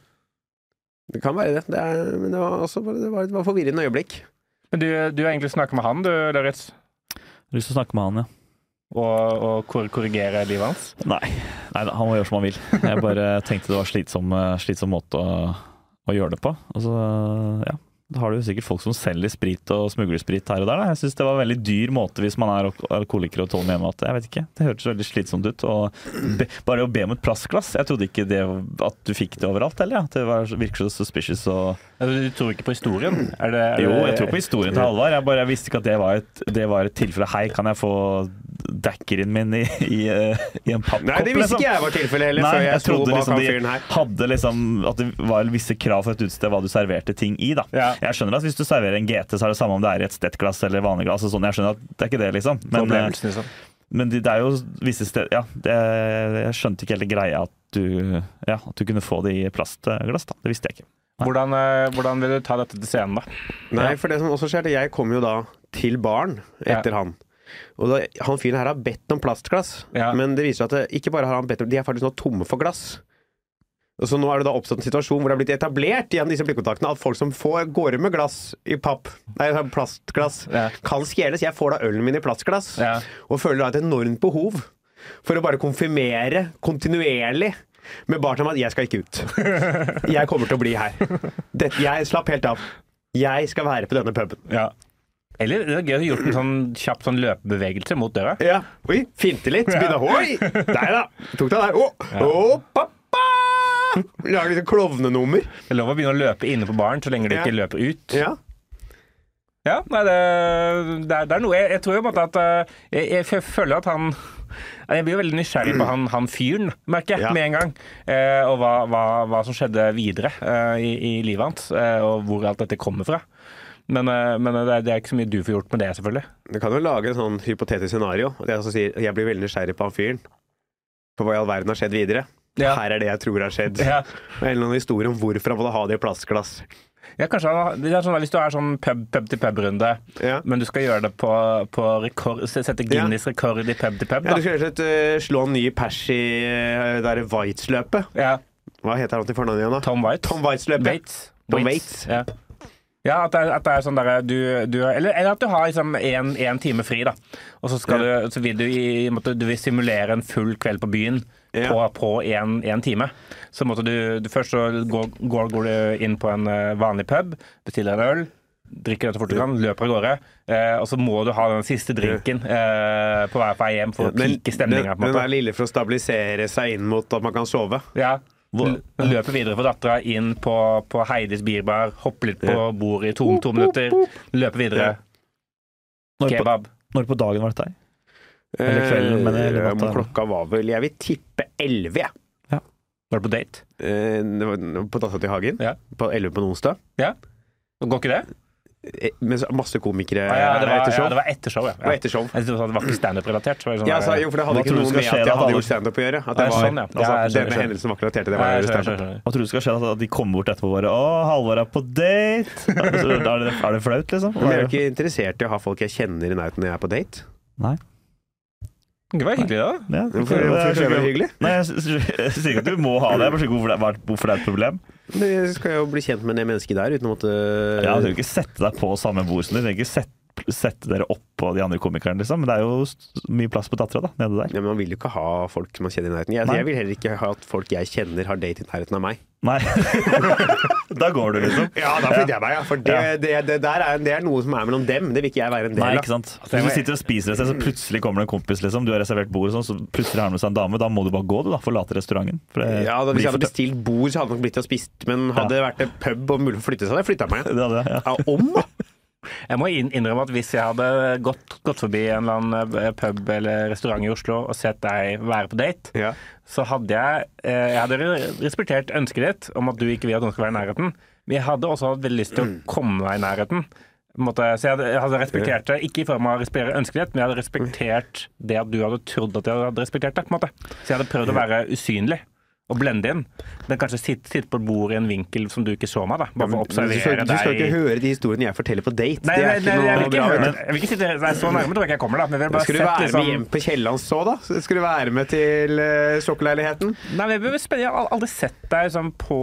C: Det kan være det. det er, men det var også bare- det var et var forvirrende øyeblikk.
B: Men du, du har egentlig snakket med han, du, Lauritz,
A: Lyst til å snakke med han, ja.
B: og, og kor korrigere livet hans.
A: Nei, Nei da, han må gjøre som han vil. Jeg bare tenkte det var slitsom, eh, slitsom måte å, å gjøre det på. Og så, ja. Da har du jo sikkert folk som selger sprit og smugler sprit her og der. Da. Jeg syns det var en veldig dyr måte hvis man er alk- alkoholiker og tåler med hjemmemat. Jeg vet ikke. Det hørtes veldig slitsomt ut. Og be, bare å be om et plastglass. Jeg trodde ikke det, at du fikk det overalt, eller? Ja. Det var, virker så suspicious og
B: Altså, du tror ikke på historien? Er det, er
A: Jo,
B: det-
A: jeg tror på historien til Halvard. Jeg bare jeg visste ikke at det var et, det var et tilfelle. Hei, kan jeg få dackeren min i, i, eh, i en pappkopp?
C: Nei, det visste
A: liksom?
C: ikke jeg var tilfellet heller,
A: Nei,
C: før jeg,
A: jeg
C: sto
A: trodde
C: bak
A: liksom
C: han
A: de
C: fyren her.
A: hadde liksom At det var visse krav for et utested hva du serverte ting i. da
B: Ja.
A: Jeg skjønner at hvis du serverer en GT, så er det samme om det er i et stettglass eller vanlig glass. og Sånn. Jeg skjønner at det er ikke det, liksom. Men, eh,
B: Opplevelsen, liksom.
A: men de- det er jo visse steder Ja, det, jeg skjønte ikke hele greia at du, ja, at du kunne få det i plastglass. da Det visste jeg ikke.
B: Hvordan, eh, hvordan vil du ta dette til scenen, da?
C: Nei, for det som også skjer, det jeg kom jo da til baren etter
B: Ja.
C: han. Og da, han fyren her har bedt om plastglass,
B: Ja.
C: men det viser seg at det, ikke bare har han bedt om, de er faktisk nå tomme for glass. Og så nå er det da oppstått en situasjon hvor det har blitt etablert igjen disse blikkontaktene at folk som får går med glass i papp, nei, sånn plastglass,
B: Ja.
C: kan stjeles. Jeg får da ølen min i plastglass,
B: Ja.
C: og føler da et enormt behov for å bare konfirmere kontinuerlig med barna at jeg skal ikke ut. [laughs] Jeg kommer til å bli her. Dette, jeg slapp helt av. Jeg skal være på denne puben.
B: Ja. Eller det er gøy å ha gjort en sånn kjapp sånn løpebevegelse mot døra.
C: Ja. Oi, finte litt. Begynne hoi! Der, da. Tok deg der. Å, å, pappa! Lager litt klovnenummer.
B: Det er lov å begynne å løpe inne på baren så lenge du
C: Ja.
B: ikke løper ut.
C: Ja.
B: Ja, nei, det, det, er, det er noe Jeg, jeg tror jo på en måte at eh, jeg, jeg, f- føler at han Jeg blir jo veldig nysgjerrig på han, han fyren, merker jeg,
C: Ja.
B: med en gang. Eh, og hva, hva, hva som skjedde videre eh, i, i livet hans, eh, og hvor alt dette kommer fra. Men, eh, men det, er, det er ikke så mye du får gjort med det, selvfølgelig.
C: Du kan jo lage en sånn hypotetisk scenario. at Jeg, altså sier, jeg blir veldig nysgjerrig på han fyren. På hva i all verden har skjedd videre.
B: Ja.
C: Her er det jeg tror har [laughs] skjedd.
B: Ja.
C: Eller noen historie om hvorfor han måtte ha det i plastglass.
B: Ja, kanskje han, det er sånn, Hvis du er sånn pub-til-pub-runde,
C: Ja.
B: men du skal gjøre det på, på rekord, sette Guinness rekord i pub-til-pub,
C: Ja,
B: da.
C: du skulle rett og slett eh, slå en ny pers i eh, det derre Waitz-løpet.
B: Ja,
C: Hva heter han til fornavn igjen, da?
B: Tom White.
C: Tom Waitz-løpet.
B: Waits.
C: Tom Waits.
B: Ja. ja, at det, er- at det er sånn derre du, du eller, eller at du har liksom én time fri, da. Og så, skal du, så vil du, i, måtte, du vil simulere en full kveld på byen
C: Ja.
B: på- på én time. Så måtte du, du Først så går, går, går du inn på en eh, vanlig pub, bestiller en øl. Drikker det så fort du kan, løper av gårde. Eh, og så må du ha den siste drinken eh, på vei på vei hjem for å
C: Den,
B: pike
C: den,
B: stemninga. på en
C: den
B: måte.
C: er lille for å stabilisere seg inn mot at man kan sove.
B: Ja. L- Løper videre for dattera, inn på, på Heidis bierbar, hopper litt på bordet i to, to minutter, løper videre.
A: Når på,
B: Kebab.
A: når på dagen var dette her? Eller kvelden, men eller
C: Eh,
A: natta, eller?
C: klokka var vel Jeg vil tippe elleve, jeg.
B: Var du på date?
C: Eh, det var- det var På Dattera til Hagen.
B: Ja.
C: På elleve på en onsdag.
B: Går ikke det?
C: Eh, Med så- masse komikere
B: Ah, ja, det, var,
C: etter
B: ja,
C: show.
B: det var etter show, ja.
C: Og
B: ja.
C: etter show.
B: Jeg synes det var ikke standup-relatert. så var det sånn
C: Ja,
B: der-
C: sa- jo, for det hadde
A: Hva
C: ikke
A: tror du
C: noe
A: skal
C: med
A: skje da,
C: at jeg hadde
A: Anders?
C: gjort standup å gjøre. At
B: Nei,
C: det var,
B: sånn, ja.
C: altså,
B: Ja, jeg skjønner,
C: denne
B: skjønner.
C: hendelsen var ikke relatert til det.
B: Nei,
C: Var
B: jeg
C: jo
B: skjønner,
C: standup.
B: skjønner.
A: Hva tror du skal skje? da? At de kommer bort etterpå og bare 'Å, Halvor er på date!' Er det, er det, er det flaut, liksom?
C: Men jeg er jo ikke interessert i å ha folk jeg kjenner i nærheten når jeg er på date.
A: Nei.
B: Det var hyggelig, da.
A: Ja, det-
C: Hvorfor, hvorfor
A: det
C: skal
A: er
C: det være
A: hyggelig.
C: hyggelig?
A: Nei, jeg sy- sy- [laughs] jeg sier ikke at du må ha det. Jeg bare sier ikke hvorfor det er- hvorfor det er et problem.
C: Jeg skal jo bli kjent med det mennesket der uten å måtte
A: Ja, du trenger ikke sette deg på samme bord som de. Du trenger ikke sette, sette dere oppå de andre komikerne, liksom. Men det er jo s- mye plass på dattera, da, nede der.
C: Ja, men Man vil jo ikke ha folk man kjenner i nærheten. Jeg,
A: Nei.
C: jeg vil heller ikke ha at folk jeg kjenner, har date i nærheten av meg.
A: Nei. [laughs] da går du, liksom.
C: Ja, da flytter jeg meg, ja. For det, det, det, der er, det er noe som er mellom dem. Det vil ikke jeg være en
A: Nei,
C: del
A: ikke
C: av.
A: sant. Hvis du sitter og spiser et sted, så plutselig kommer det en kompis, liksom. Du har reservert bord, og sånn, så plutselig har han med seg en dame. Da må du bare gå, du, da. Forlate restauranten. For det
C: Ja, da, Hvis
A: blir
C: jeg
A: for
C: hadde bestilt bord, så hadde det nok blitt og spist. Men hadde det vært en pub og mulig å flytte seg, hadde jeg flytta meg.
A: tøft. Det hadde jeg, ja.
C: [laughs] Ja, om, da!
B: Jeg må inn- innrømme at hvis jeg hadde gått, gått forbi en eller annen eh, pub eller restaurant i Oslo og sett deg være på date,
C: Ja.
B: så hadde jeg, eh, jeg hadde respektert ønsket ditt om at du ikke vil at noen skal være i nærheten. Men jeg hadde også hatt veldig lyst til å
C: Mm.
B: komme meg i nærheten. På en måte. Så jeg hadde, jeg hadde respektert det, ikke i form av å respektere ønsket ditt, men jeg hadde respektert det at du hadde trodd at jeg hadde respektert det. på en måte. Så jeg hadde prøvd å være usynlig. Og blende inn. Men kanskje sitte sitt på bordet i en vinkel som du ikke så meg, da. Bare for å
C: Du skal,
B: observere
C: du skal
B: deg.
C: ikke høre de historiene jeg forteller på date.
B: Nei, nei,
C: det
B: nei,
C: er ikke
B: jeg
C: noe
B: vil ikke
C: bra.
B: høre
C: Men,
B: det. Jeg vil ikke sitte nei, så nærme, tror jeg ikke jeg kommer, da. Men jeg vil bare
C: skal du være
B: sett
C: med hjem
B: liksom
C: på Kielland så, da? Skal du være med til uh, sokkelleiligheten?
B: Nei, men jeg blir spent. Jeg har aldri sett deg liksom, på,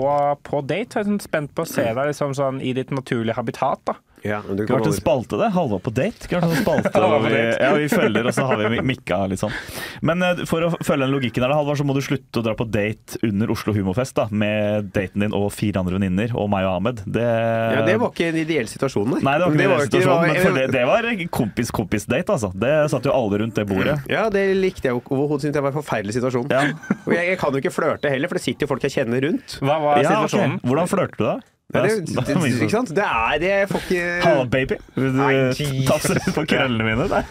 B: på date. Jeg er sånn spent på å se deg liksom, sånn, i ditt naturlige habitat. Da.
C: Ja, men du
A: Skulle
C: kan
A: vært en
C: aldri-
A: spalte, det. Halva på date. Skulle vært en sånn [laughs] spalte
B: Halva
A: hvor
B: på
A: vi,
B: date.
A: ja, vi følger, og så har vi mikka litt sånn. Men eh, for å følge den logikken her, da, Halvard, så må du slutte å dra på date under Oslo Humorfest da, med daten din og fire andre venninner og meg og Ahmed. Det,
C: Ja, det var ikke en ideell situasjon, nei.
A: Nei, det var ikke det
C: jo
A: situasjonen,
C: det var-
A: men for det, det
C: [laughs]
A: var kompis-kompis-date, altså. Det satt jo alle rundt det bordet.
C: Ja, det likte jeg jo overhodet. Syntes jeg var en forferdelig situasjon.
A: Ja.
C: [laughs] Og jeg, jeg kan jo ikke flørte heller, for det sitter jo folk jeg kjenner rundt.
B: Hva var
A: Ja, ok.
B: situasjonen?
A: Hvordan flørter du da?
C: Det, er
A: Ja,
C: jo-
A: da-
C: det, ikke
A: sånn.
C: sant? det er det jeg får ikke
A: Halla, baby. Vil
C: Nei,
A: du
C: Jesus.
A: tafse litt [laughs] på krøllene mine? Nei.
C: [laughs]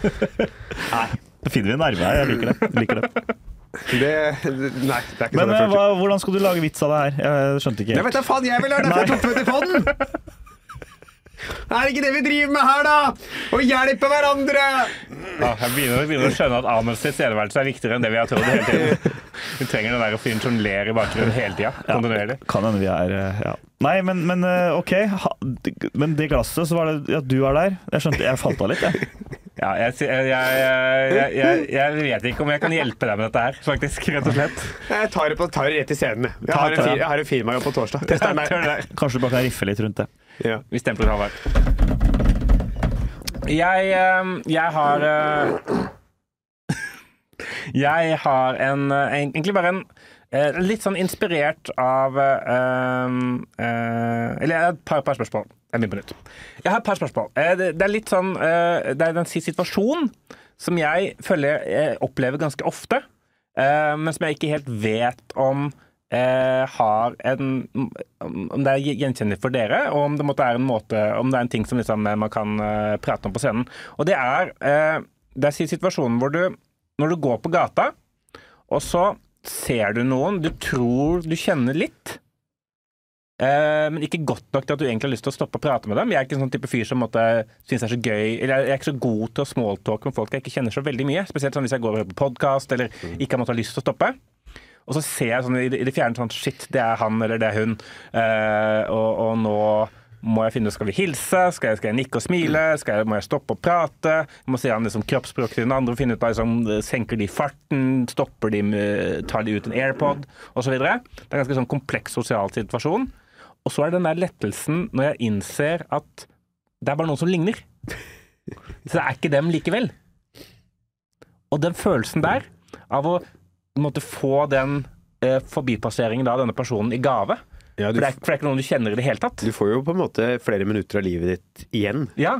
A: Da finner vi en nerve her. Jeg liker det. Jeg liker det.
C: det, det- Nei, det er ikke
A: Men eh,
C: sånn jeg
A: hva,
C: flørter.
A: hvordan skal du lage vits av det her? Jeg skjønte ikke
C: Det
A: helt.
C: vet jeg faen jeg vil, det er derfor jeg tok med til
A: [laughs]
C: podden! Er det ikke det vi driver med her, da? Å hjelpe hverandre!
B: [laughs] Ja, jeg begynner, begynner å skjønne at Amels tilstedeværelse er viktigere enn det vi har trodd hele tiden. Vi trenger den der fyren som ler i bakgrunnen hele tida. Kontinuerlig.
A: Kan hende vi er eh, ja. Nei, men, men eh, OK. Ha, men det glasset, så var det at du er der. Jeg skjønte, jeg falt av litt, jeg.
B: Ja, jeg, sy- jeg, jeg, jeg, jeg, jeg vet ikke om jeg kan hjelpe deg med dette her, faktisk. Rett og slett.
C: Jeg tar det, på, tar det rett i scenen. Jeg
A: Ta
C: har en,
A: det.
C: fir- jeg har en firmajobb på torsdag. Test deg
B: Tør
C: meg.
B: det.
A: Kanskje du bare kan riffe litt rundt det.
C: Ja.
B: Vi stempler Halvard. Jeg, eh, jeg har eh, [laughs] Jeg har en eh, Egentlig bare en eh, Litt sånn inspirert av eh, eh, Eller jeg har et par, par spørsmål. Jeg begynner på nytt. Jeg har et par spørsmål. Eh, det, det er litt sånn eh, Det er en si- situasjon som jeg føler jeg opplever ganske ofte, eh, men som jeg ikke helt vet om eh, har en om om det er gjenkjennelig for dere, og om det måtte være en måte Om det er en ting som liksom eh, man kan eh, prate om på scenen. Og det er eh, Det er situasjonen hvor du Når du går på gata, og så ser du noen du tror du kjenner litt. eh, men ikke godt nok til at du egentlig har lyst til å stoppe og prate med dem. Jeg er ikke en sånn type fyr som måtte, synes det er så gøy Eller jeg er ikke så god til å smalltalke med folk jeg ikke kjenner så veldig mye. Spesielt sånn hvis jeg går og hører på podkast eller ikke har måttet ha lyst til å stoppe. Og så ser jeg sånn i det, i det fjerne sånn Shit, det er han eller det er hun. Eh, og, og nå må jeg finne ut Skal vi hilse? Skal jeg, skal jeg nikke og smile? Skal jeg, må jeg stoppe og prate? Jeg må se an liksom, kroppsspråket til den andre. Finne ut av liksom, Senker de farten? Stopper de? med- Tar de ut en AirPod? Osv. Det er en ganske sånn kompleks sosial situasjon. Og så er det den der lettelsen når jeg innser at det er bare noen som ligner. Så det er ikke dem likevel. Og den følelsen der, av å måtte få den eh, forbipasseringen av denne personen i gave
C: Ja,
B: for
C: du,
B: det, er, for det er ikke noen du kjenner i det hele tatt.
C: du får jo på en måte flere minutter av livet ditt igjen.
B: Ja,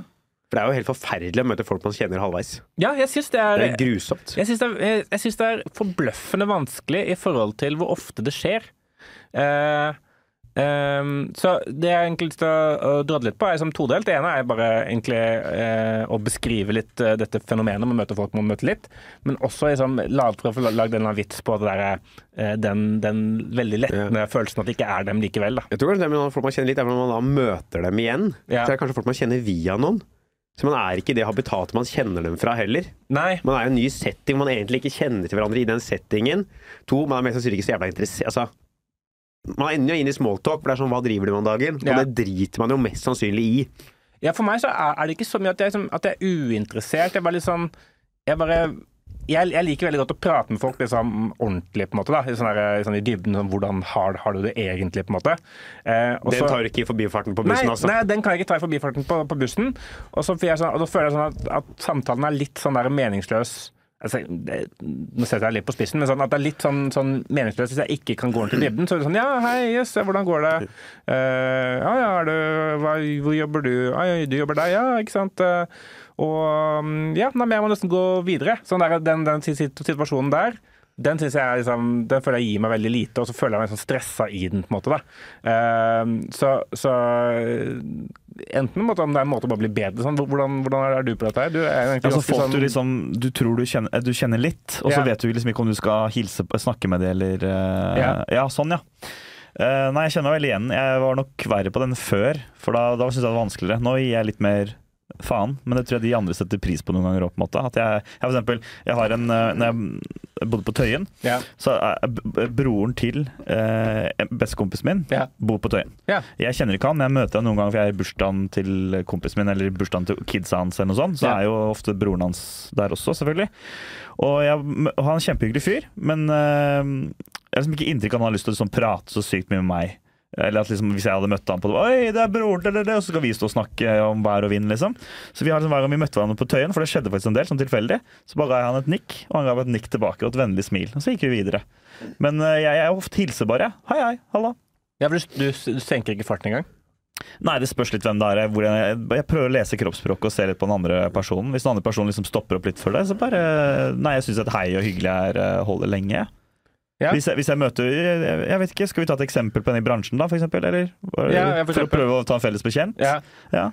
C: For det er jo helt forferdelig å møte folk man kjenner halvveis.
B: ja jeg syns det er
C: Det er grusomt.
B: Jeg syns det, er- jeg- jeg syns det er forbløffende vanskelig i forhold til hvor ofte det skjer. Eh, ehm, så det jeg egentlig har lyst til å å drodle litt på, er som todelt. Det ene er bare egentlig eh, å beskrive litt eh, dette fenomenet med å møte folk man møter litt, men også liksom, la, prøve å få lagd en eller annen vits på det der, eh, den, den veldig lettende følelsen at det ikke er dem likevel. Da.
C: Jeg tror kanskje det med folk man kjenner litt, er når man da møter dem igjen.
B: Ja.
C: Så det er kanskje folk man kjenner via noen. Så man er ikke i det habitatet man kjenner dem fra heller.
B: Nei.
C: Man er jo i en ny setting, man egentlig ikke kjenner til hverandre i den settingen. To, man er mest sannsynlig ikke så jævla interessert. Altså, man ender jo inn i smalltalk, for det er sånn hva driver du med om dagen?
B: Ja.
C: Og det driter man jo mest sannsynlig i.
B: Ja, for meg så er, er det ikke så mye at jeg, liksom, at jeg er uinteressert. Jeg bare liksom Jeg bare jeg, jeg liker veldig godt å prate med folk liksom, ordentlig, på en måte. da, I, sånn der, i sånn i dybden. Sånn, hvordan har, har du det egentlig, på en måte. Eh, og så-
C: Den tar du ikke i forbifarten på
B: Nei,
C: bussen, altså.
B: nei, den kan jeg ikke ta i forbifarten på, på bussen. Og så, får jeg sånn, og da føler jeg sånn at, at samtalen er litt sånn der meningsløs. Altså, det, nå setter jeg litt på spissen, men sånn at det er litt sånn, sånn meningsløst hvis jeg ikke kan gå ordentlig i dybden. Så er det sånn Ja, hei, jøss, hvordan går det? Eh, ja, ja, er du hva, Hvor jobber du? Ja, ja, du jobber der, ja, ikke sant? Eh, og mm, Ja, nei, men jeg må nesten gå videre. Sånn der, den, den sit- sit- situasjonen der. Den, synes jeg er liksom, den føler jeg gir meg veldig lite, og så føler jeg meg sånn stressa i den. på en måte da. Ehm, så, så enten måtte, om det er en måte å bare bli bedre sånn, hvordan, hvordan er du på dette? her? Du er egentlig
A: Altså,
B: ganske
A: folk
B: sånn,
A: du liksom Du tror du kjenner, eh, du kjenner litt, og så
B: Ja.
A: vet du liksom ikke om du skal hilse, på- snakke med det eller eh, ja.
B: Ja.
A: sånn, ja. Eh, nei, jeg kjenner meg veldig igjen. Jeg var nok verre på den før, for da, da syntes jeg det var vanskeligere. Nå gir jeg litt mer faen, men det tror jeg de andre setter pris på noen ganger òg, på en måte. At jeg, jeg for eksempel, jeg har en eh, Når jeg bodde på Tøyen,
B: ja,
A: så er b- b- broren til eh, bestekompisen min
B: Ja.
A: bor på Tøyen.
B: ja,
A: Jeg kjenner ikke han, men jeg møter han noen ganger for jeg er i bursdagen til kompisen min eller i bursdagen til kidsa hans. eller noe sånt, Så
B: Ja.
A: er jo ofte broren hans der også, selvfølgelig. Og jeg, og han er en kjempehyggelig fyr, men eh, jeg har liksom ikke inntrykk av at han har lyst til å liksom prate så sykt mye med meg. Eller at liksom, Hvis jeg hadde møtt han på det, Oi, det er broren til det, det, og så skal vi stå og snakke om vær og vind. liksom. Så vi har liksom, Hver gang vi møtte hverandre på Tøyen, for det skjedde faktisk en del, sånn tilfeldig, så bare ga jeg han et nikk, og han ga meg et nikk tilbake og et vennlig smil. Og så gikk vi videre. Men eh, jeg, jeg ofte hilser bare. Hei, hei, halla.
B: ja, for du, du, du senker ikke farten engang?
A: Nei, det spørs litt hvem det er. Hvor jeg, jeg prøver å lese kroppsspråket og se litt på den andre personen. Hvis den andre personen liksom stopper opp litt for det, så bare Nei, jeg syns at hei og hyggelig er eh, holder lenge.
B: Ja.
A: Hvis, jeg, hvis jeg møter jeg, jeg vet ikke, Skal vi ta et eksempel på den i bransjen, da, for eksempel? Eller? Bare-
B: Ja, ja, for
A: for, å
B: eksempel.
A: prøve å ta en felles bekjent?
B: Ja.
A: Ja.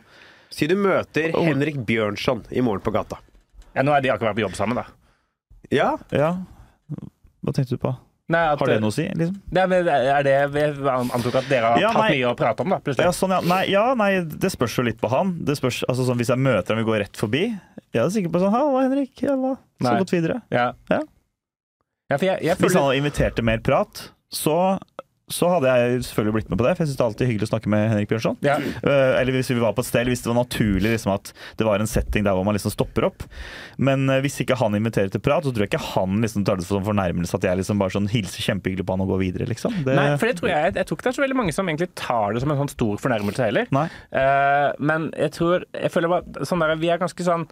C: Si du møter Henrik Bjørnson i morgen på gata.
B: ja, Nå har de akkurat vært på jobb sammen, da.
C: Ja,
A: ja. Hva tenkte du på?
B: Nei, at,
A: Har det noe å si? liksom?
B: Nei, men er det Jeg antok at dere har
A: Ja,
B: hatt
A: nei.
B: mye å prate om, da,
A: Ja,
B: plutselig.
A: sånn, ja. Nei, ja, nei, det spørs jo litt på han. Det spørs, altså, sånn, hvis jeg møter ham og går rett forbi, jeg er sikkert på sånn Halla, Henrik. Halla. Så
B: Nei.
A: gått videre.
B: Ja.
A: Ja.
B: Ja, for jeg, jeg
A: Hvis han
B: føler,
A: hadde invitert til mer prat, så, så hadde jeg selvfølgelig blitt med på det. For jeg syns det er alltid hyggelig å snakke med Henrik Bjørnson.
B: ja,
A: Eh, Eller hvis vi var på et sted, hvis det var naturlig liksom, at det var en setting der hvor man liksom stopper opp. Men eh, hvis ikke han inviterer til prat, så tror jeg ikke han liksom tar det som fornærmelse at jeg liksom bare sånn hilser kjempehyggelig på han og går videre, liksom. Det,
B: nei, for det tror jeg, jeg tror ikke det er så veldig mange som egentlig tar det som en sånn stor fornærmelse heller.
A: Nei.
B: Eh, men jeg tror jeg føler bare, sånn der, Vi er ganske sånn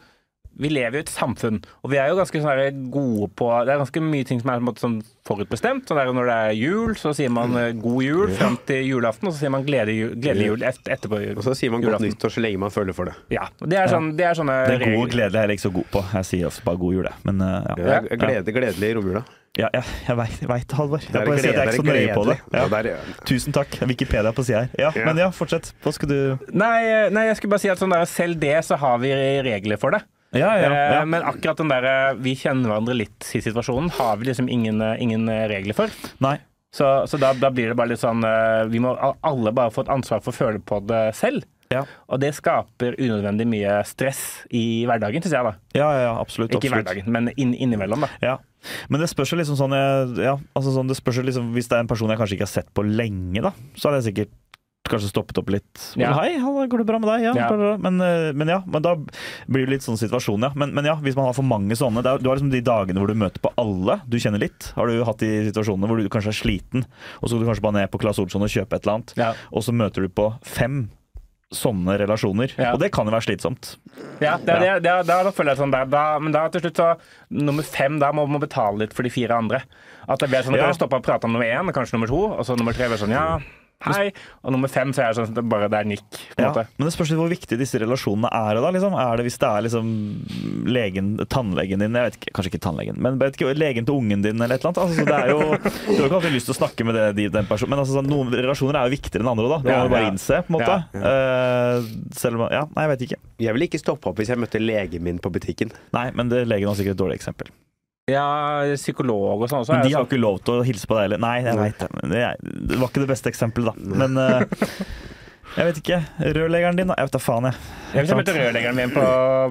B: Vi lever jo i et samfunn, og vi er jo ganske sånn der gode på Det er ganske mye ting som er på en måte sånn forutbestemt. Sånn der, når det er jul, så sier man eh, 'god jul' fram til julaften, og så sier man 'gledelig jul', gledelig jul et, etterpå. jul-
C: Og så sier man godt
B: julaften.
C: nyttår så lenge man føler for det.
B: Ja. og Det er, sånn, det er sånne
A: det er god og
B: regler.
A: gledelig er jeg ikke så god på. Jeg sier ofte bare god jul, jeg. Men eh, ja.
C: Ja, glede, gledelig i romjula.
A: ja, ja jeg veit det, Halvor. Jeg
C: er
A: bare sier at jeg er ikke så
C: gleder,
A: nøye på det.
C: gledelig.
A: Ja.
C: Ja, der er-
A: Tusen takk. Wikipedia på sida her. Ja,
C: Ja.
A: Men ja, fortsett. Hva skal du
B: Nei, eh, nei, jeg skulle bare si at sånn der, selv det så har vi regler for det.
A: Ja, ja.
B: Eh,
A: ja.
B: Men akkurat den der eh, 'vi kjenner hverandre litt'-situasjonen har vi liksom ingen, eh, ingen eh, regler for.
A: Nei.
B: Så, så da, da blir det bare litt sånn eh, Vi må a- alle bare få et ansvar for å føle på det selv.
A: Ja.
B: Og det skaper unødvendig mye stress i hverdagen, syns jeg. da.
A: Ja, ja, absolutt.
B: Ikke i
A: absolutt.
B: hverdagen, men inn, innimellom, da.
A: Ja. Men det spørs jo liksom sånn jeg, ja, altså sånn, det spørs jo liksom, Hvis det er en person jeg kanskje ikke har sett på lenge, da, så hadde jeg sikkert kanskje stoppet opp litt. Men,
B: Ja.
A: Hei, Halla, går det bra med deg? Ja,
B: Ja.
A: bla, bla, bla. Men, eh, men ja, men da blir det litt sånn situasjon, ja. Men, men ja, hvis man har for mange sånne det er, Du har liksom de dagene hvor du møter på alle du kjenner litt. Har du hatt de situasjonene hvor du kanskje er sliten, og så går du kanskje bare ned på Claes Olsson og kjøper et eller annet,
B: Ja.
A: og så møter du på fem sånne relasjoner.
B: Ja.
A: Og det kan jo være slitsomt.
B: Ja, det, det, det, da, da føler jeg sånn der, da, Men da til slutt så Nummer fem, da må man betale litt for de fire andre. At det blir sånn at
A: Ja.
B: jeg stopper og prater om nummer én, og kanskje nummer to, og så nummer tre blir sånn ja, hei. Og nummer fem så er det sånn at det bare det er nikk, på en
A: Ja,
B: måte.
A: men det spørs litt hvor viktig disse relasjonene er. da, liksom. Er det Hvis det er liksom legen, tannlegen din jeg vet ikke, Kanskje ikke tannlegen, men jeg vet ikke, legen til ungen din eller et eller annet. Altså, så det er jo, du har ikke alltid lyst til å snakke med det, de- den personen, men altså, sånn, noen relasjoner er jo viktigere enn andre. da. Det må
B: Ja,
A: man bare
B: ja.
A: innse. på en måte. Eh, selv om, ja, Nei, jeg vet ikke.
C: Jeg ville ikke stoppa opp hvis jeg møtte legen min på butikken.
A: Nei, men det, Legen var sikkert et dårlig eksempel.
B: Ja, psykolog og sånn også.
A: Men
B: er
A: de
B: jo
A: har
B: sånn-
A: jo ikke lov til å hilse på deg heller. Nei, jeg vet det. men Det er- det var ikke det beste eksempelet, da. Men eh, jeg vet ikke. Rørleggeren din, da? Jeg vet da faen, jeg.
B: Jeg vil møte rørleggeren min på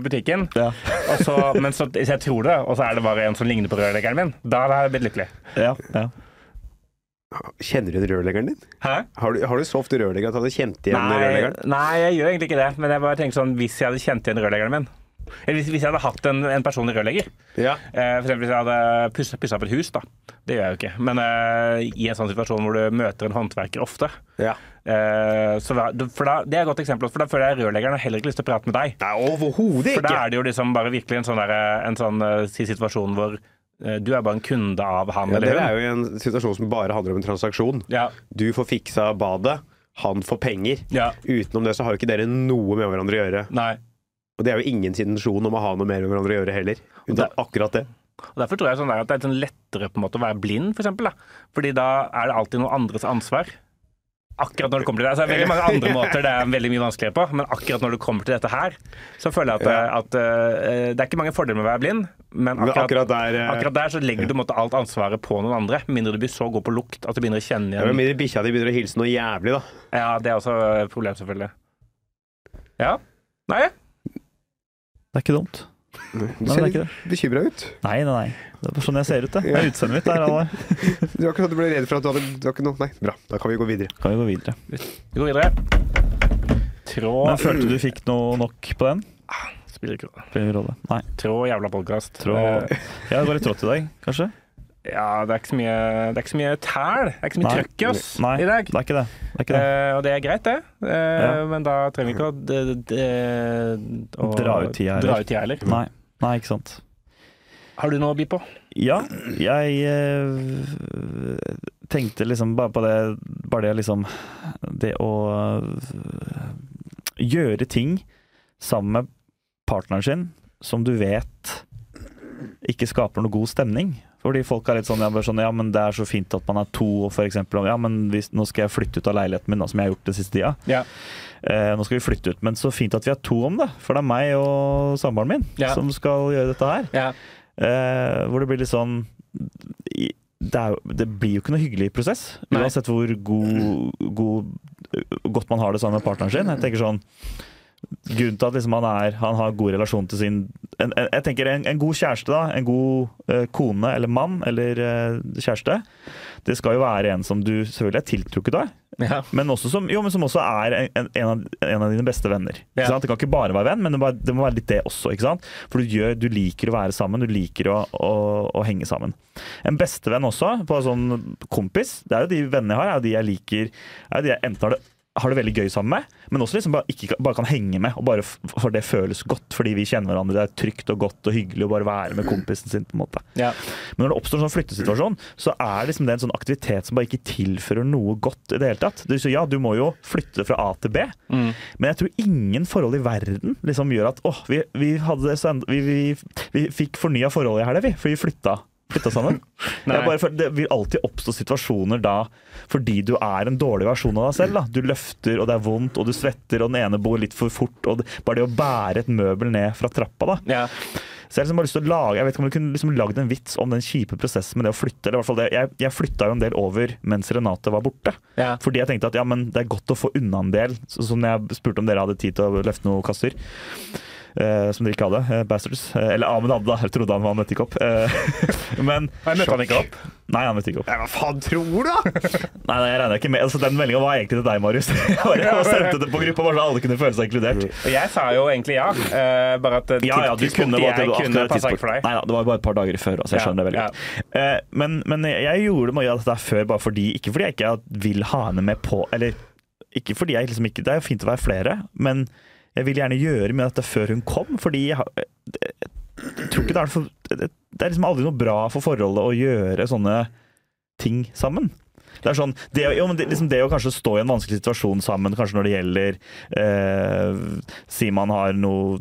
B: butikken,
A: Ja.
B: og så, men så, hvis jeg tror det, og så er det bare en som ligner på rørleggeren min. Da hadde jeg blitt lykkelig.
A: Ja, ja.
C: Kjenner du rørleggeren din?
B: Hæ?
C: Har du, har du så ofte rørlegger at du hadde kjent igjen
B: Nei,
C: rørleggeren?
B: nei, jeg gjør egentlig ikke det. Men jeg bare tenker sånn, hvis jeg hadde kjent igjen rørleggeren min Eller hvis, hvis jeg hadde hatt en, en personlig rørlegger
C: Ja.
B: eh, For eksempel hvis jeg hadde pussa, pussa opp et hus, da. Det gjør jeg jo ikke. Men eh, i en sånn situasjon hvor du møter en håndverker ofte
C: ja.
B: eh, så, da- for da, Det er et godt eksempel, for da føler jeg rørleggeren har heller ikke lyst til å prate med deg.
C: Nei, overhodet
B: For da
C: ikke!
B: er det jo liksom bare virkelig en sånn, der, en sånn eh, si- situasjon hvor eh, du er bare en kunde av han
C: Ja, det
B: eller hun.
C: er jo en situasjon som bare handler om en transaksjon.
B: Ja.
C: Du får fiksa badet, han får penger.
B: Ja.
C: Utenom det så har jo ikke dere noe med hverandre å gjøre.
B: Nei.
C: Og det er jo ingen intensjon om å ha noe mer med hverandre å gjøre heller.
B: Det-
C: Unntatt akkurat det.
B: Og Derfor tror jeg sånn der at det er litt sånn lettere på en måte å være blind, for eksempel, da. Fordi da er det alltid noen andres ansvar. Akkurat når det kommer til det. Altså, det er veldig mange andre måter det er veldig mye vanskeligere på, men akkurat når det kommer til dette her, så føler jeg at,
C: Ja.
B: at eh, det er ikke mange fordeler med å være blind, men
C: Men
B: akkurat,
C: akkurat der eh,
B: akkurat der så legger du på en måte alt ansvaret på noen andre. Med mindre du blir så god på lukt at du begynner å kjenne
C: ja, men
B: igjen
C: mindre bikkja di begynner å hilse noe jævlig, da.
B: Ja, det er også et problem, selvfølgelig. Ja. Nei,
A: Det er ikke dumt.
C: Du
A: Nei,
C: ser
A: det er
C: litt
A: ikke det.
C: bekymra ut.
A: Nei, nei, nei. Det er bare sånn jeg ser ut, det. Det er utseendet mitt der, Alvar.
C: Du var ikke sånn at du ble redd for at du hadde du var ikke noe Nei, bra. Da kan vi gå videre.
A: Kan vi gå videre.
B: vi går videre. Trå
A: Men følte du fikk noe nok på den?
B: Spiller ikke rolle.
A: Spiller ingen rolle. Nei.
B: Trå jævla podkast.
A: Trå Ja, det går litt trått i dag, kanskje?
B: Ja, det er ikke så mye, det er ikke så mye tæl. Det er ikke så mye
A: Nei.
B: trøkk i oss
A: Nei,
B: i
A: det er
B: dag.
A: ikke det. det, er ikke det.
B: Eh, og det er greit, det. Eh,
A: Ja.
B: Men da trenger vi ikke å, d- d- d- å
A: Dra ut tida heller.
B: dra ut tida heller.
A: Nei. nei, ikke sant.
B: Har du noe å by på?
A: Ja, jeg eh, tenkte liksom bare på det Bare det liksom Det å eh, gjøre ting sammen med partneren sin som du vet ikke skaper noe god stemning. Fordi folk er litt sånn ja, bare sånn ja, men det er så fint at man er to, og for eksempel om ja, men hvis, nå skal jeg flytte ut av leiligheten min, da, som jeg har gjort den siste tida.
B: Ja.
A: Eh, nå skal vi flytte ut, men så fint at vi er to om det. For det er meg og samboeren min
B: Ja.
A: som skal gjøre dette her.
B: Ja.
A: Eh, hvor det blir litt sånn i- det, er, jo- det blir jo ikke noe hyggelig prosess,
B: Nei.
A: uansett hvor god, god, eh, godt man har det sammen med partneren sin. Jeg tenker sånn Grunnen til at liksom han, er, han har god relasjon til sin en, en, jeg tenker en, en god kjæreste, da, en god eh, kone eller mann eller eh, kjæreste, det skal jo være en som du selvfølgelig er tiltrukket av,
B: Ja.
A: men, også som, jo, men som også er en, en, av, en av dine beste venner.
B: Ja.
A: Ikke sant? Det kan ikke bare være venn, men det må, det må være litt det også. Ikke sant? For du, gjør, du liker å være sammen, du liker å, å, å henge sammen. En bestevenn også, på en sånn kompis, det er jo de vennene jeg har, er jo de jeg liker, er jo de jeg enten har det har det veldig gøy sammen med, men også liksom bare, ikke, bare kan henge med. Og bare f- for det føles godt, fordi vi kjenner hverandre. Det er trygt og godt og hyggelig å bare være
B: Mm.
A: med kompisen sin. på en måte.
B: Ja.
A: Men når det oppstår en sånn flyttesituasjon, så er liksom det en sånn aktivitet som bare ikke tilfører noe godt i det hele tatt. Du, så ja, du må jo flytte fra A til B, men jeg tror ingen forhold i verden liksom gjør at åh, vi, vi, hadde det så end- vi, vi, vi fikk fornya forholdet i helga, vi, fordi vi flytta. Flytta sammen.
B: Nei.
A: Jeg bare, føler- det vil alltid oppstå situasjoner da fordi du er en dårlig versjon av deg selv. Da. Du løfter, og det er vondt, og du svetter, og den ene bor litt for fort. Og det, bare det å bære et møbel ned fra trappa, da.
B: Ja.
A: Så jeg, har liksom bare lyst til å lage, jeg vet ikke om du kunne liksom lagd en vits om den kjipe prosessen med det å flytte. eller i hvert fall det. Jeg, jeg flytta jo en del over mens Renate var borte.
B: Ja.
A: Fordi jeg tenkte at ja, men det er godt å få unna en del. Så, som jeg spurte om dere hadde tid til å løfte noen kasser. eh, som dere ikke hadde. eh, bastards. Eh, eller Ahmed hadde, da. Jeg trodde han var nøttekopp. Uh, [laughs] men
B: Jeg møtte han ikke opp.
A: Nei, han møtte ikke opp.
C: Nei, hva faen tror du, da?!
A: Nei, nei, jeg regner ikke med. Altså, Den meldinga var egentlig til deg, Marius. [laughs] Jeg bare jeg sendte det på gruppa bare så alle kunne føle seg inkludert.
B: Og jeg sa jo egentlig ja, eh, bare at
A: Ja, ja, du kunne
B: jeg
A: valgt det du-
B: kunne
A: akkurat
B: passa
A: tidspunkt.
B: ikke for deg.
A: Nei da, det var bare et par dager før, altså, jeg
B: Ja,
A: skjønner det veldig
B: ja.
A: godt. Eh, men, men jeg gjorde mye av dette før bare fordi Ikke fordi jeg ikke vil ha henne med på Eller ikke fordi jeg liksom ikke Det er jo fint å være flere, men jeg vil gjerne gjøre mye av dette før hun kom, fordi jeg, har- jeg tror ikke det er noe for, Det er liksom aldri noe bra for forholdet å gjøre sånne ting sammen. Det er sånn, det, jo, men det, liksom det å kanskje stå i en vanskelig situasjon sammen, kanskje når det gjelder eh, Si man har noe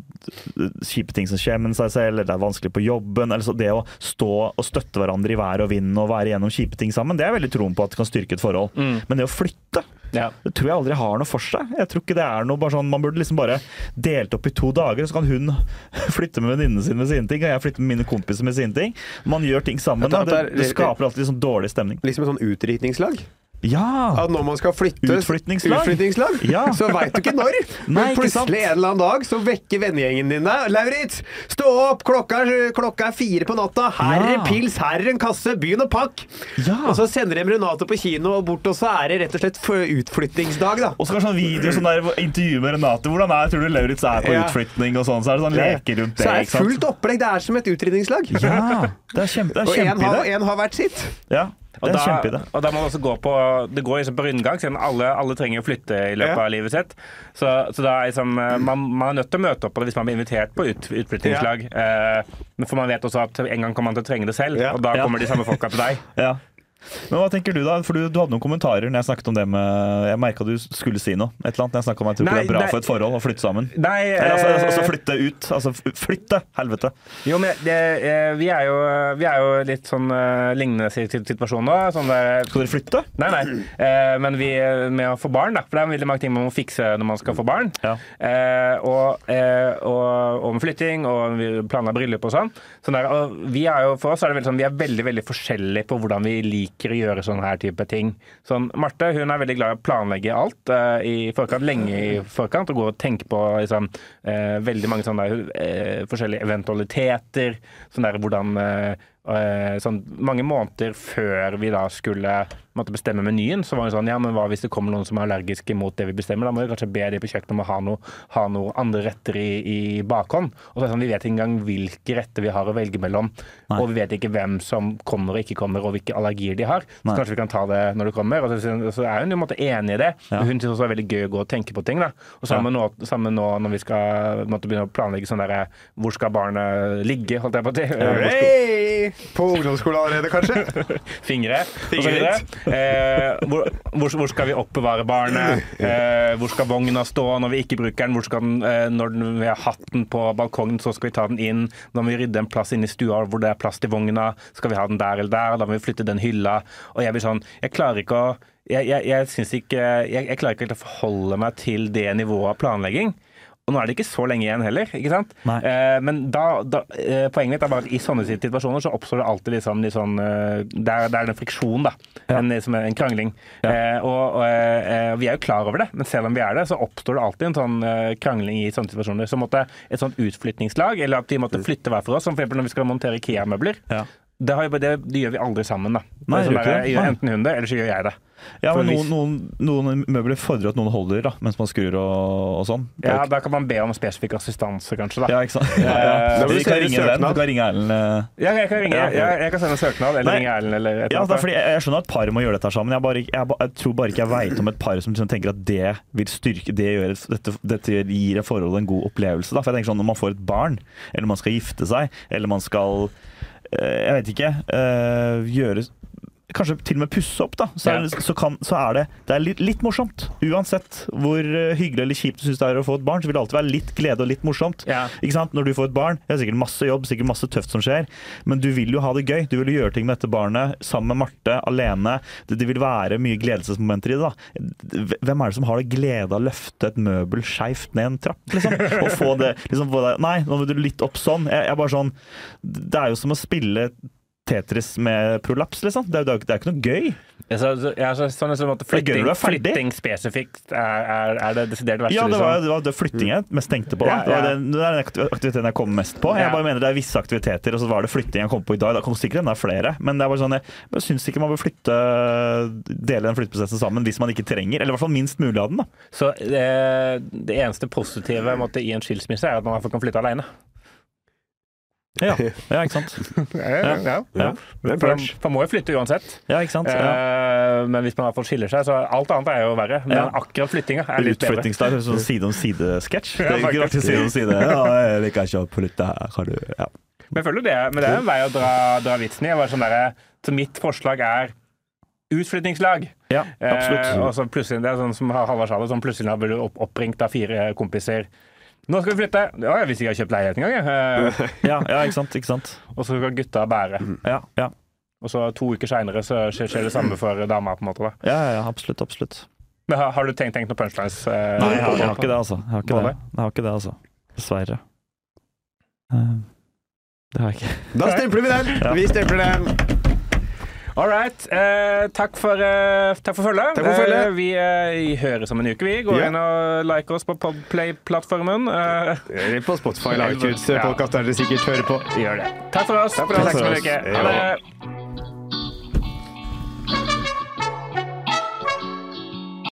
A: kjipe ting som skjer med seg selv, eller det er vanskelig på jobben. eller så Det å stå og støtte hverandre i vær og vind og være igjennom kjipe ting sammen, det er jeg veldig troen på at det kan styrke et forhold. Men det å flytte
B: Ja.
A: det tror jeg aldri har noe for seg. Jeg tror ikke det er noe bare sånn, Man burde liksom bare delt opp i to dager, så kan hun [laughs] flytte med venninnene sine med sine ting, og jeg flytte med mine kompiser med sine ting. Man gjør ting sammen.
C: Jeg
A: Da.
C: tror
A: Det,
C: at det er-
A: det skaper alltid sånn dårlig stemning.
C: Liksom et sånn utdrikningslag.
A: Ja!
C: At når man skal flytte
A: Utflytningslag.
C: utflytningslag,
A: Ja.
C: så veit du ikke når.
A: Nei,
C: Men
A: ikke sant.
C: plutselig en eller annen dag så vekker vennegjengen din deg. 'Lauritz, stå opp! Klokka er, klokka er fire på natta. Her er
A: Ja.
C: pils, her er en kasse. Begynn å pakke!'
A: Ja.
C: Og så sender de Renato på kino og bort, og så er det rett og slett f- utflyttingsdag, da.
A: Og så kanskje sånn video sånn der, intervju med Renate. Hvordan er, tror du Lauritz er på
C: Ja.
A: utflytning og sånn? Så er det sånn leker rundt det.
C: så er det
A: ikke sant?
C: fullt opplegg. Det er som et utdrikningslag.
A: Ja, det er kjempe, det
C: Og
A: er
C: én
A: kjempeidé.
C: har, en har hvert sitt.
A: Ja, det
B: Og
A: er
B: da,
A: kjempeidé.
B: og da må man også gå på Det går liksom på rundgang, siden alle, alle trenger å flytte i løpet
C: Ja.
B: av livet sitt. Så, så da er liksom, eh, man, man er nødt til å møte opp på det hvis man blir invitert på ut, utflyttingslag. Eh, men for man vet også at en gang kommer man til å trenge det selv,
C: Ja.
B: og da
A: Ja.
B: kommer de samme folka til deg.
A: Ja. Men hva tenker du da? For du, du hadde noen kommentarer når jeg snakket om det med Jeg merka du skulle si noe. Et eller annet. Jeg snakket om at jeg tror ikke
B: Nei,
A: det er bra
B: nei.
A: for et forhold å flytte sammen.
B: Nei,
A: Eller altså,
B: eh,
A: altså, altså flytte ut. Altså f- flytte! Helvete.
B: Jo, men det, eh, vi, er jo, vi er jo litt sånn eh, lignende sit- situasjon nå. Sånn der,
A: Skal dere flytte?
B: Nei, nei. Eh, men vi med å få barn, da. For det er veldig mange ting man må fikse når man skal få barn.
A: Ja.
B: Eh, og, eh, og, og med flytting og vi planla bryllup og sånn. sånn der, og vi er jo, for oss er det veldig sånn, vi er veldig veldig forskjellige på hvordan vi liker å gjøre sånne her type ting. Sånn, Marte hun er veldig glad i å planlegge alt eh, i forkant, lenge i forkant, og gå og tenke på liksom, eh, veldig mange sånne der, eh, forskjellige eventualiteter. Sånn der hvordan eh, eh, Sånn mange måneder før vi da skulle måtte bestemme menyen, så var det sånn Ja, men hva hvis det kommer noen som er allergiske mot det vi bestemmer? Da må vi kanskje be de på kjøkkenet om å ha noe, ha noe andre retter i, i bakhånd. Og så er det sånn, Vi vet ikke engang hvilke retter vi har å velge mellom.
A: Nei.
B: Og vi vet ikke hvem som kommer og ikke kommer, og hvilke allergier de har. Så
A: Nei.
B: kanskje vi kan ta det når det kommer. Og så, så er hun jo på en måte enig i det.
A: Ja.
B: Men Hun syns også det er veldig gøy å gå og tenke på ting. da. Og sammen, nå, sammen nå når vi skal på en måte, begynne å planlegge sånn derre Hvor skal barnet ligge, holdt jeg på å si. Hvor skal-
C: Hei! På ungdomsskolen allerede, [laughs] kanskje?
B: fingre og så
C: Fingre
B: videre. Eh, hvor, hvor, hvor skal vi oppbevare barnet? Eh, hvor skal vogna stå når vi ikke bruker den? Hvor skal den eh, når den, vi har hatt den på balkongen, så skal vi ta den inn. Da må vi rydde en plass inn i stua hvor det er plass til vogna. Skal vi ha den der eller der? Da må vi flytte den hylla. Og jeg blir sånn Jeg klarer ikke å jeg, jeg, jeg, syns ikke, jeg, jeg klarer ikke helt å forholde meg til det nivået av planlegging. Og nå er det ikke så lenge igjen heller, ikke sant?
A: Nei.
B: Eh, men da, da, eh, poenget mitt er bare at i sånne situasjoner så oppstår det alltid liksom litt sånn eh, Det er det er en friksjon, da.
A: Ja.
B: En, liksom en krangling. Eh, og og eh, eh, vi er jo klar over det, men selv om vi er det, så oppstår det alltid en sånn eh, krangling i sånne situasjoner. Så måtte et sånt utflytningslag, eller at de
A: Mm.
B: måtte flytte hver for oss, som for eksempel når vi skal montere IKEA-møbler.
A: Ja.
B: Det, har, jo- det, det gjør vi aldri sammen, da. Det er
A: Nei,
B: sånn
A: gjør
B: der,
A: ikke det.
B: gjør
A: Nei.
B: enten hun det, eller så gjør jeg det.
A: Ja,
B: For
A: men
B: hvis-
A: noen, noen, noen møbler fordrer at noen holder da, mens man skrur og, og sånn. Det er
B: Ja,
A: jo
B: da kan man be om spesifikk assistanse, kanskje.
A: ikke-
B: da.
A: ja, ikke sant? Ja, [laughs] ja.
C: Da må du
A: Du kan
C: sende
A: ringe en venn,
C: søknad.
A: du kan ringe Erlend. eh.
B: Ja, jeg kan ringe,
A: Ja.
B: jeg, jeg kan sende søknad, eller
A: Nei.
B: ringe Erlend, eller
A: Ja,
B: et eller
A: altså, det er
B: annet.
A: fordi jeg, jeg skjønner at par må gjøre dette her sammen. Jeg, bare, ikke- jeg, ba- jeg tror bare ikke jeg veit om et par som liksom tenker at det vil styrke Det gjør et, dette, dette gir et forhold en god opplevelse. Da. For jeg tenker sånn, Når man får et barn, eller man skal gifte seg, eller man skal eh, Jeg vet ikke. eh, gjøre Kanskje til og med pusse opp, da. Så er, det- så kan, så er det, det er litt, litt morsomt. Uansett hvor eh, hyggelig eller kjipt du syns det er å få et barn, så vil det alltid være litt glede og litt morsomt.
B: Ja.
A: Ikke sant? Når du får et barn, det er sikkert masse jobb, sikkert masse tøft som skjer, men du vil jo ha det gøy. Du vil jo gjøre ting med dette barnet sammen med Marte, alene. Det, det vil være mye gledelsesmomenter i det. da. Hvem er det som har det glede av å løfte et møbel skeivt ned en trapp, liksom? Og få det liksom få det, Nei, nå må du litt opp sånn. Jeg, jeg er bare sånn Det er jo som å spille Tetris med prolaps, liksom. Det er, det er, det er ikke noe gøy.
B: Ja, så, så, ja, så, sånn liksom at
A: gøy
B: flytting,
A: når du er ferdig.
B: flytting spesifikt er, er, er det desidert verste.
A: Ja, det var,
B: liksom.
A: det var det flytting jeg mest tenkte på. da.
B: Ja,
A: Det, var
B: ja.
A: den, det er den aktiv- aktiviteten jeg kom mest på.
B: Ja.
A: Jeg bare mener det er visse aktiviteter, og så var det flytting jeg kom på i dag. Det kommer sikkert enda flere, men det er bare sånn, jeg, jeg syns ikke man bør flytte dele den flytteprosessen sammen hvis man ikke trenger, eller i hvert fall minst mulig av den. da.
B: Så eh, det eneste positive på en måte, i en skilsmisse er at man i hvert fall kan flytte alene.
A: Ja, ja ikke sant?
B: Ja, ja.
A: Ja,
C: Det er
B: For,
C: punch.
B: for man må jo flytte uansett.
A: ja ikke sant? Ja.
B: Eh, men hvis man i hvert fall skiller seg, så alt annet er jo verre. Men
A: Ja.
B: akkurat flyttinga er litt bedre.
A: Utflyttingsdag, sånn side om side-sketsj. Det
B: Ja,
A: er ikke
B: faktisk.
A: alltid side om side. Ja, jeg liker ikke å flytte her, kan du ja.
B: Men jeg føler jo det, men det er en vei å dra, dra vitsen i. Jeg var sånn derre- så mitt forslag er utflyttingslag.
A: ja,
B: Eh, og
A: absolutt.
B: så plutselig, det er sånn som Halvard sa det, sånn plutselig da blir du opp, oppringt av fire eh, kompiser. Nå skal vi flytte! Ja, jeg visste ikke jeg hadde kjøpt leilighet engang. jeg. Eh,
A: Ja, ja, ikke sant? Ikke sant?
B: og så skal gutta bære.
A: Ja, ja.
B: Og så to uker seinere så skjer, skjer det samme for dama, på en måte. da.
A: Ja, ja, ja, absolutt, absolutt.
B: Men har, har du tenkt, tenkt noen punchlines? eh,
A: Nei, jeg har, jeg har
B: på-
A: ikke det, altså. Jeg har ikke
B: Båle?
A: det, jeg har ikke det altså. Dessverre. Eh, Det har jeg ikke.
C: Da stempler vi den! Vi stempler den.
B: All right. Eh, takk for, eh, takk for følget.
C: Takk for følget.
B: Eh, vi eh, høres om en uke, vi. Gå
C: Ja.
B: inn og like oss på Podplay-plattformen. Eh,
C: Eller på Spotify eller iTunes.
B: Ja.
C: Podkast er dere sikkert hører på.
B: gjør det. Takk for oss.
C: for
B: Takk
C: oss.
B: for en uke. Ha det.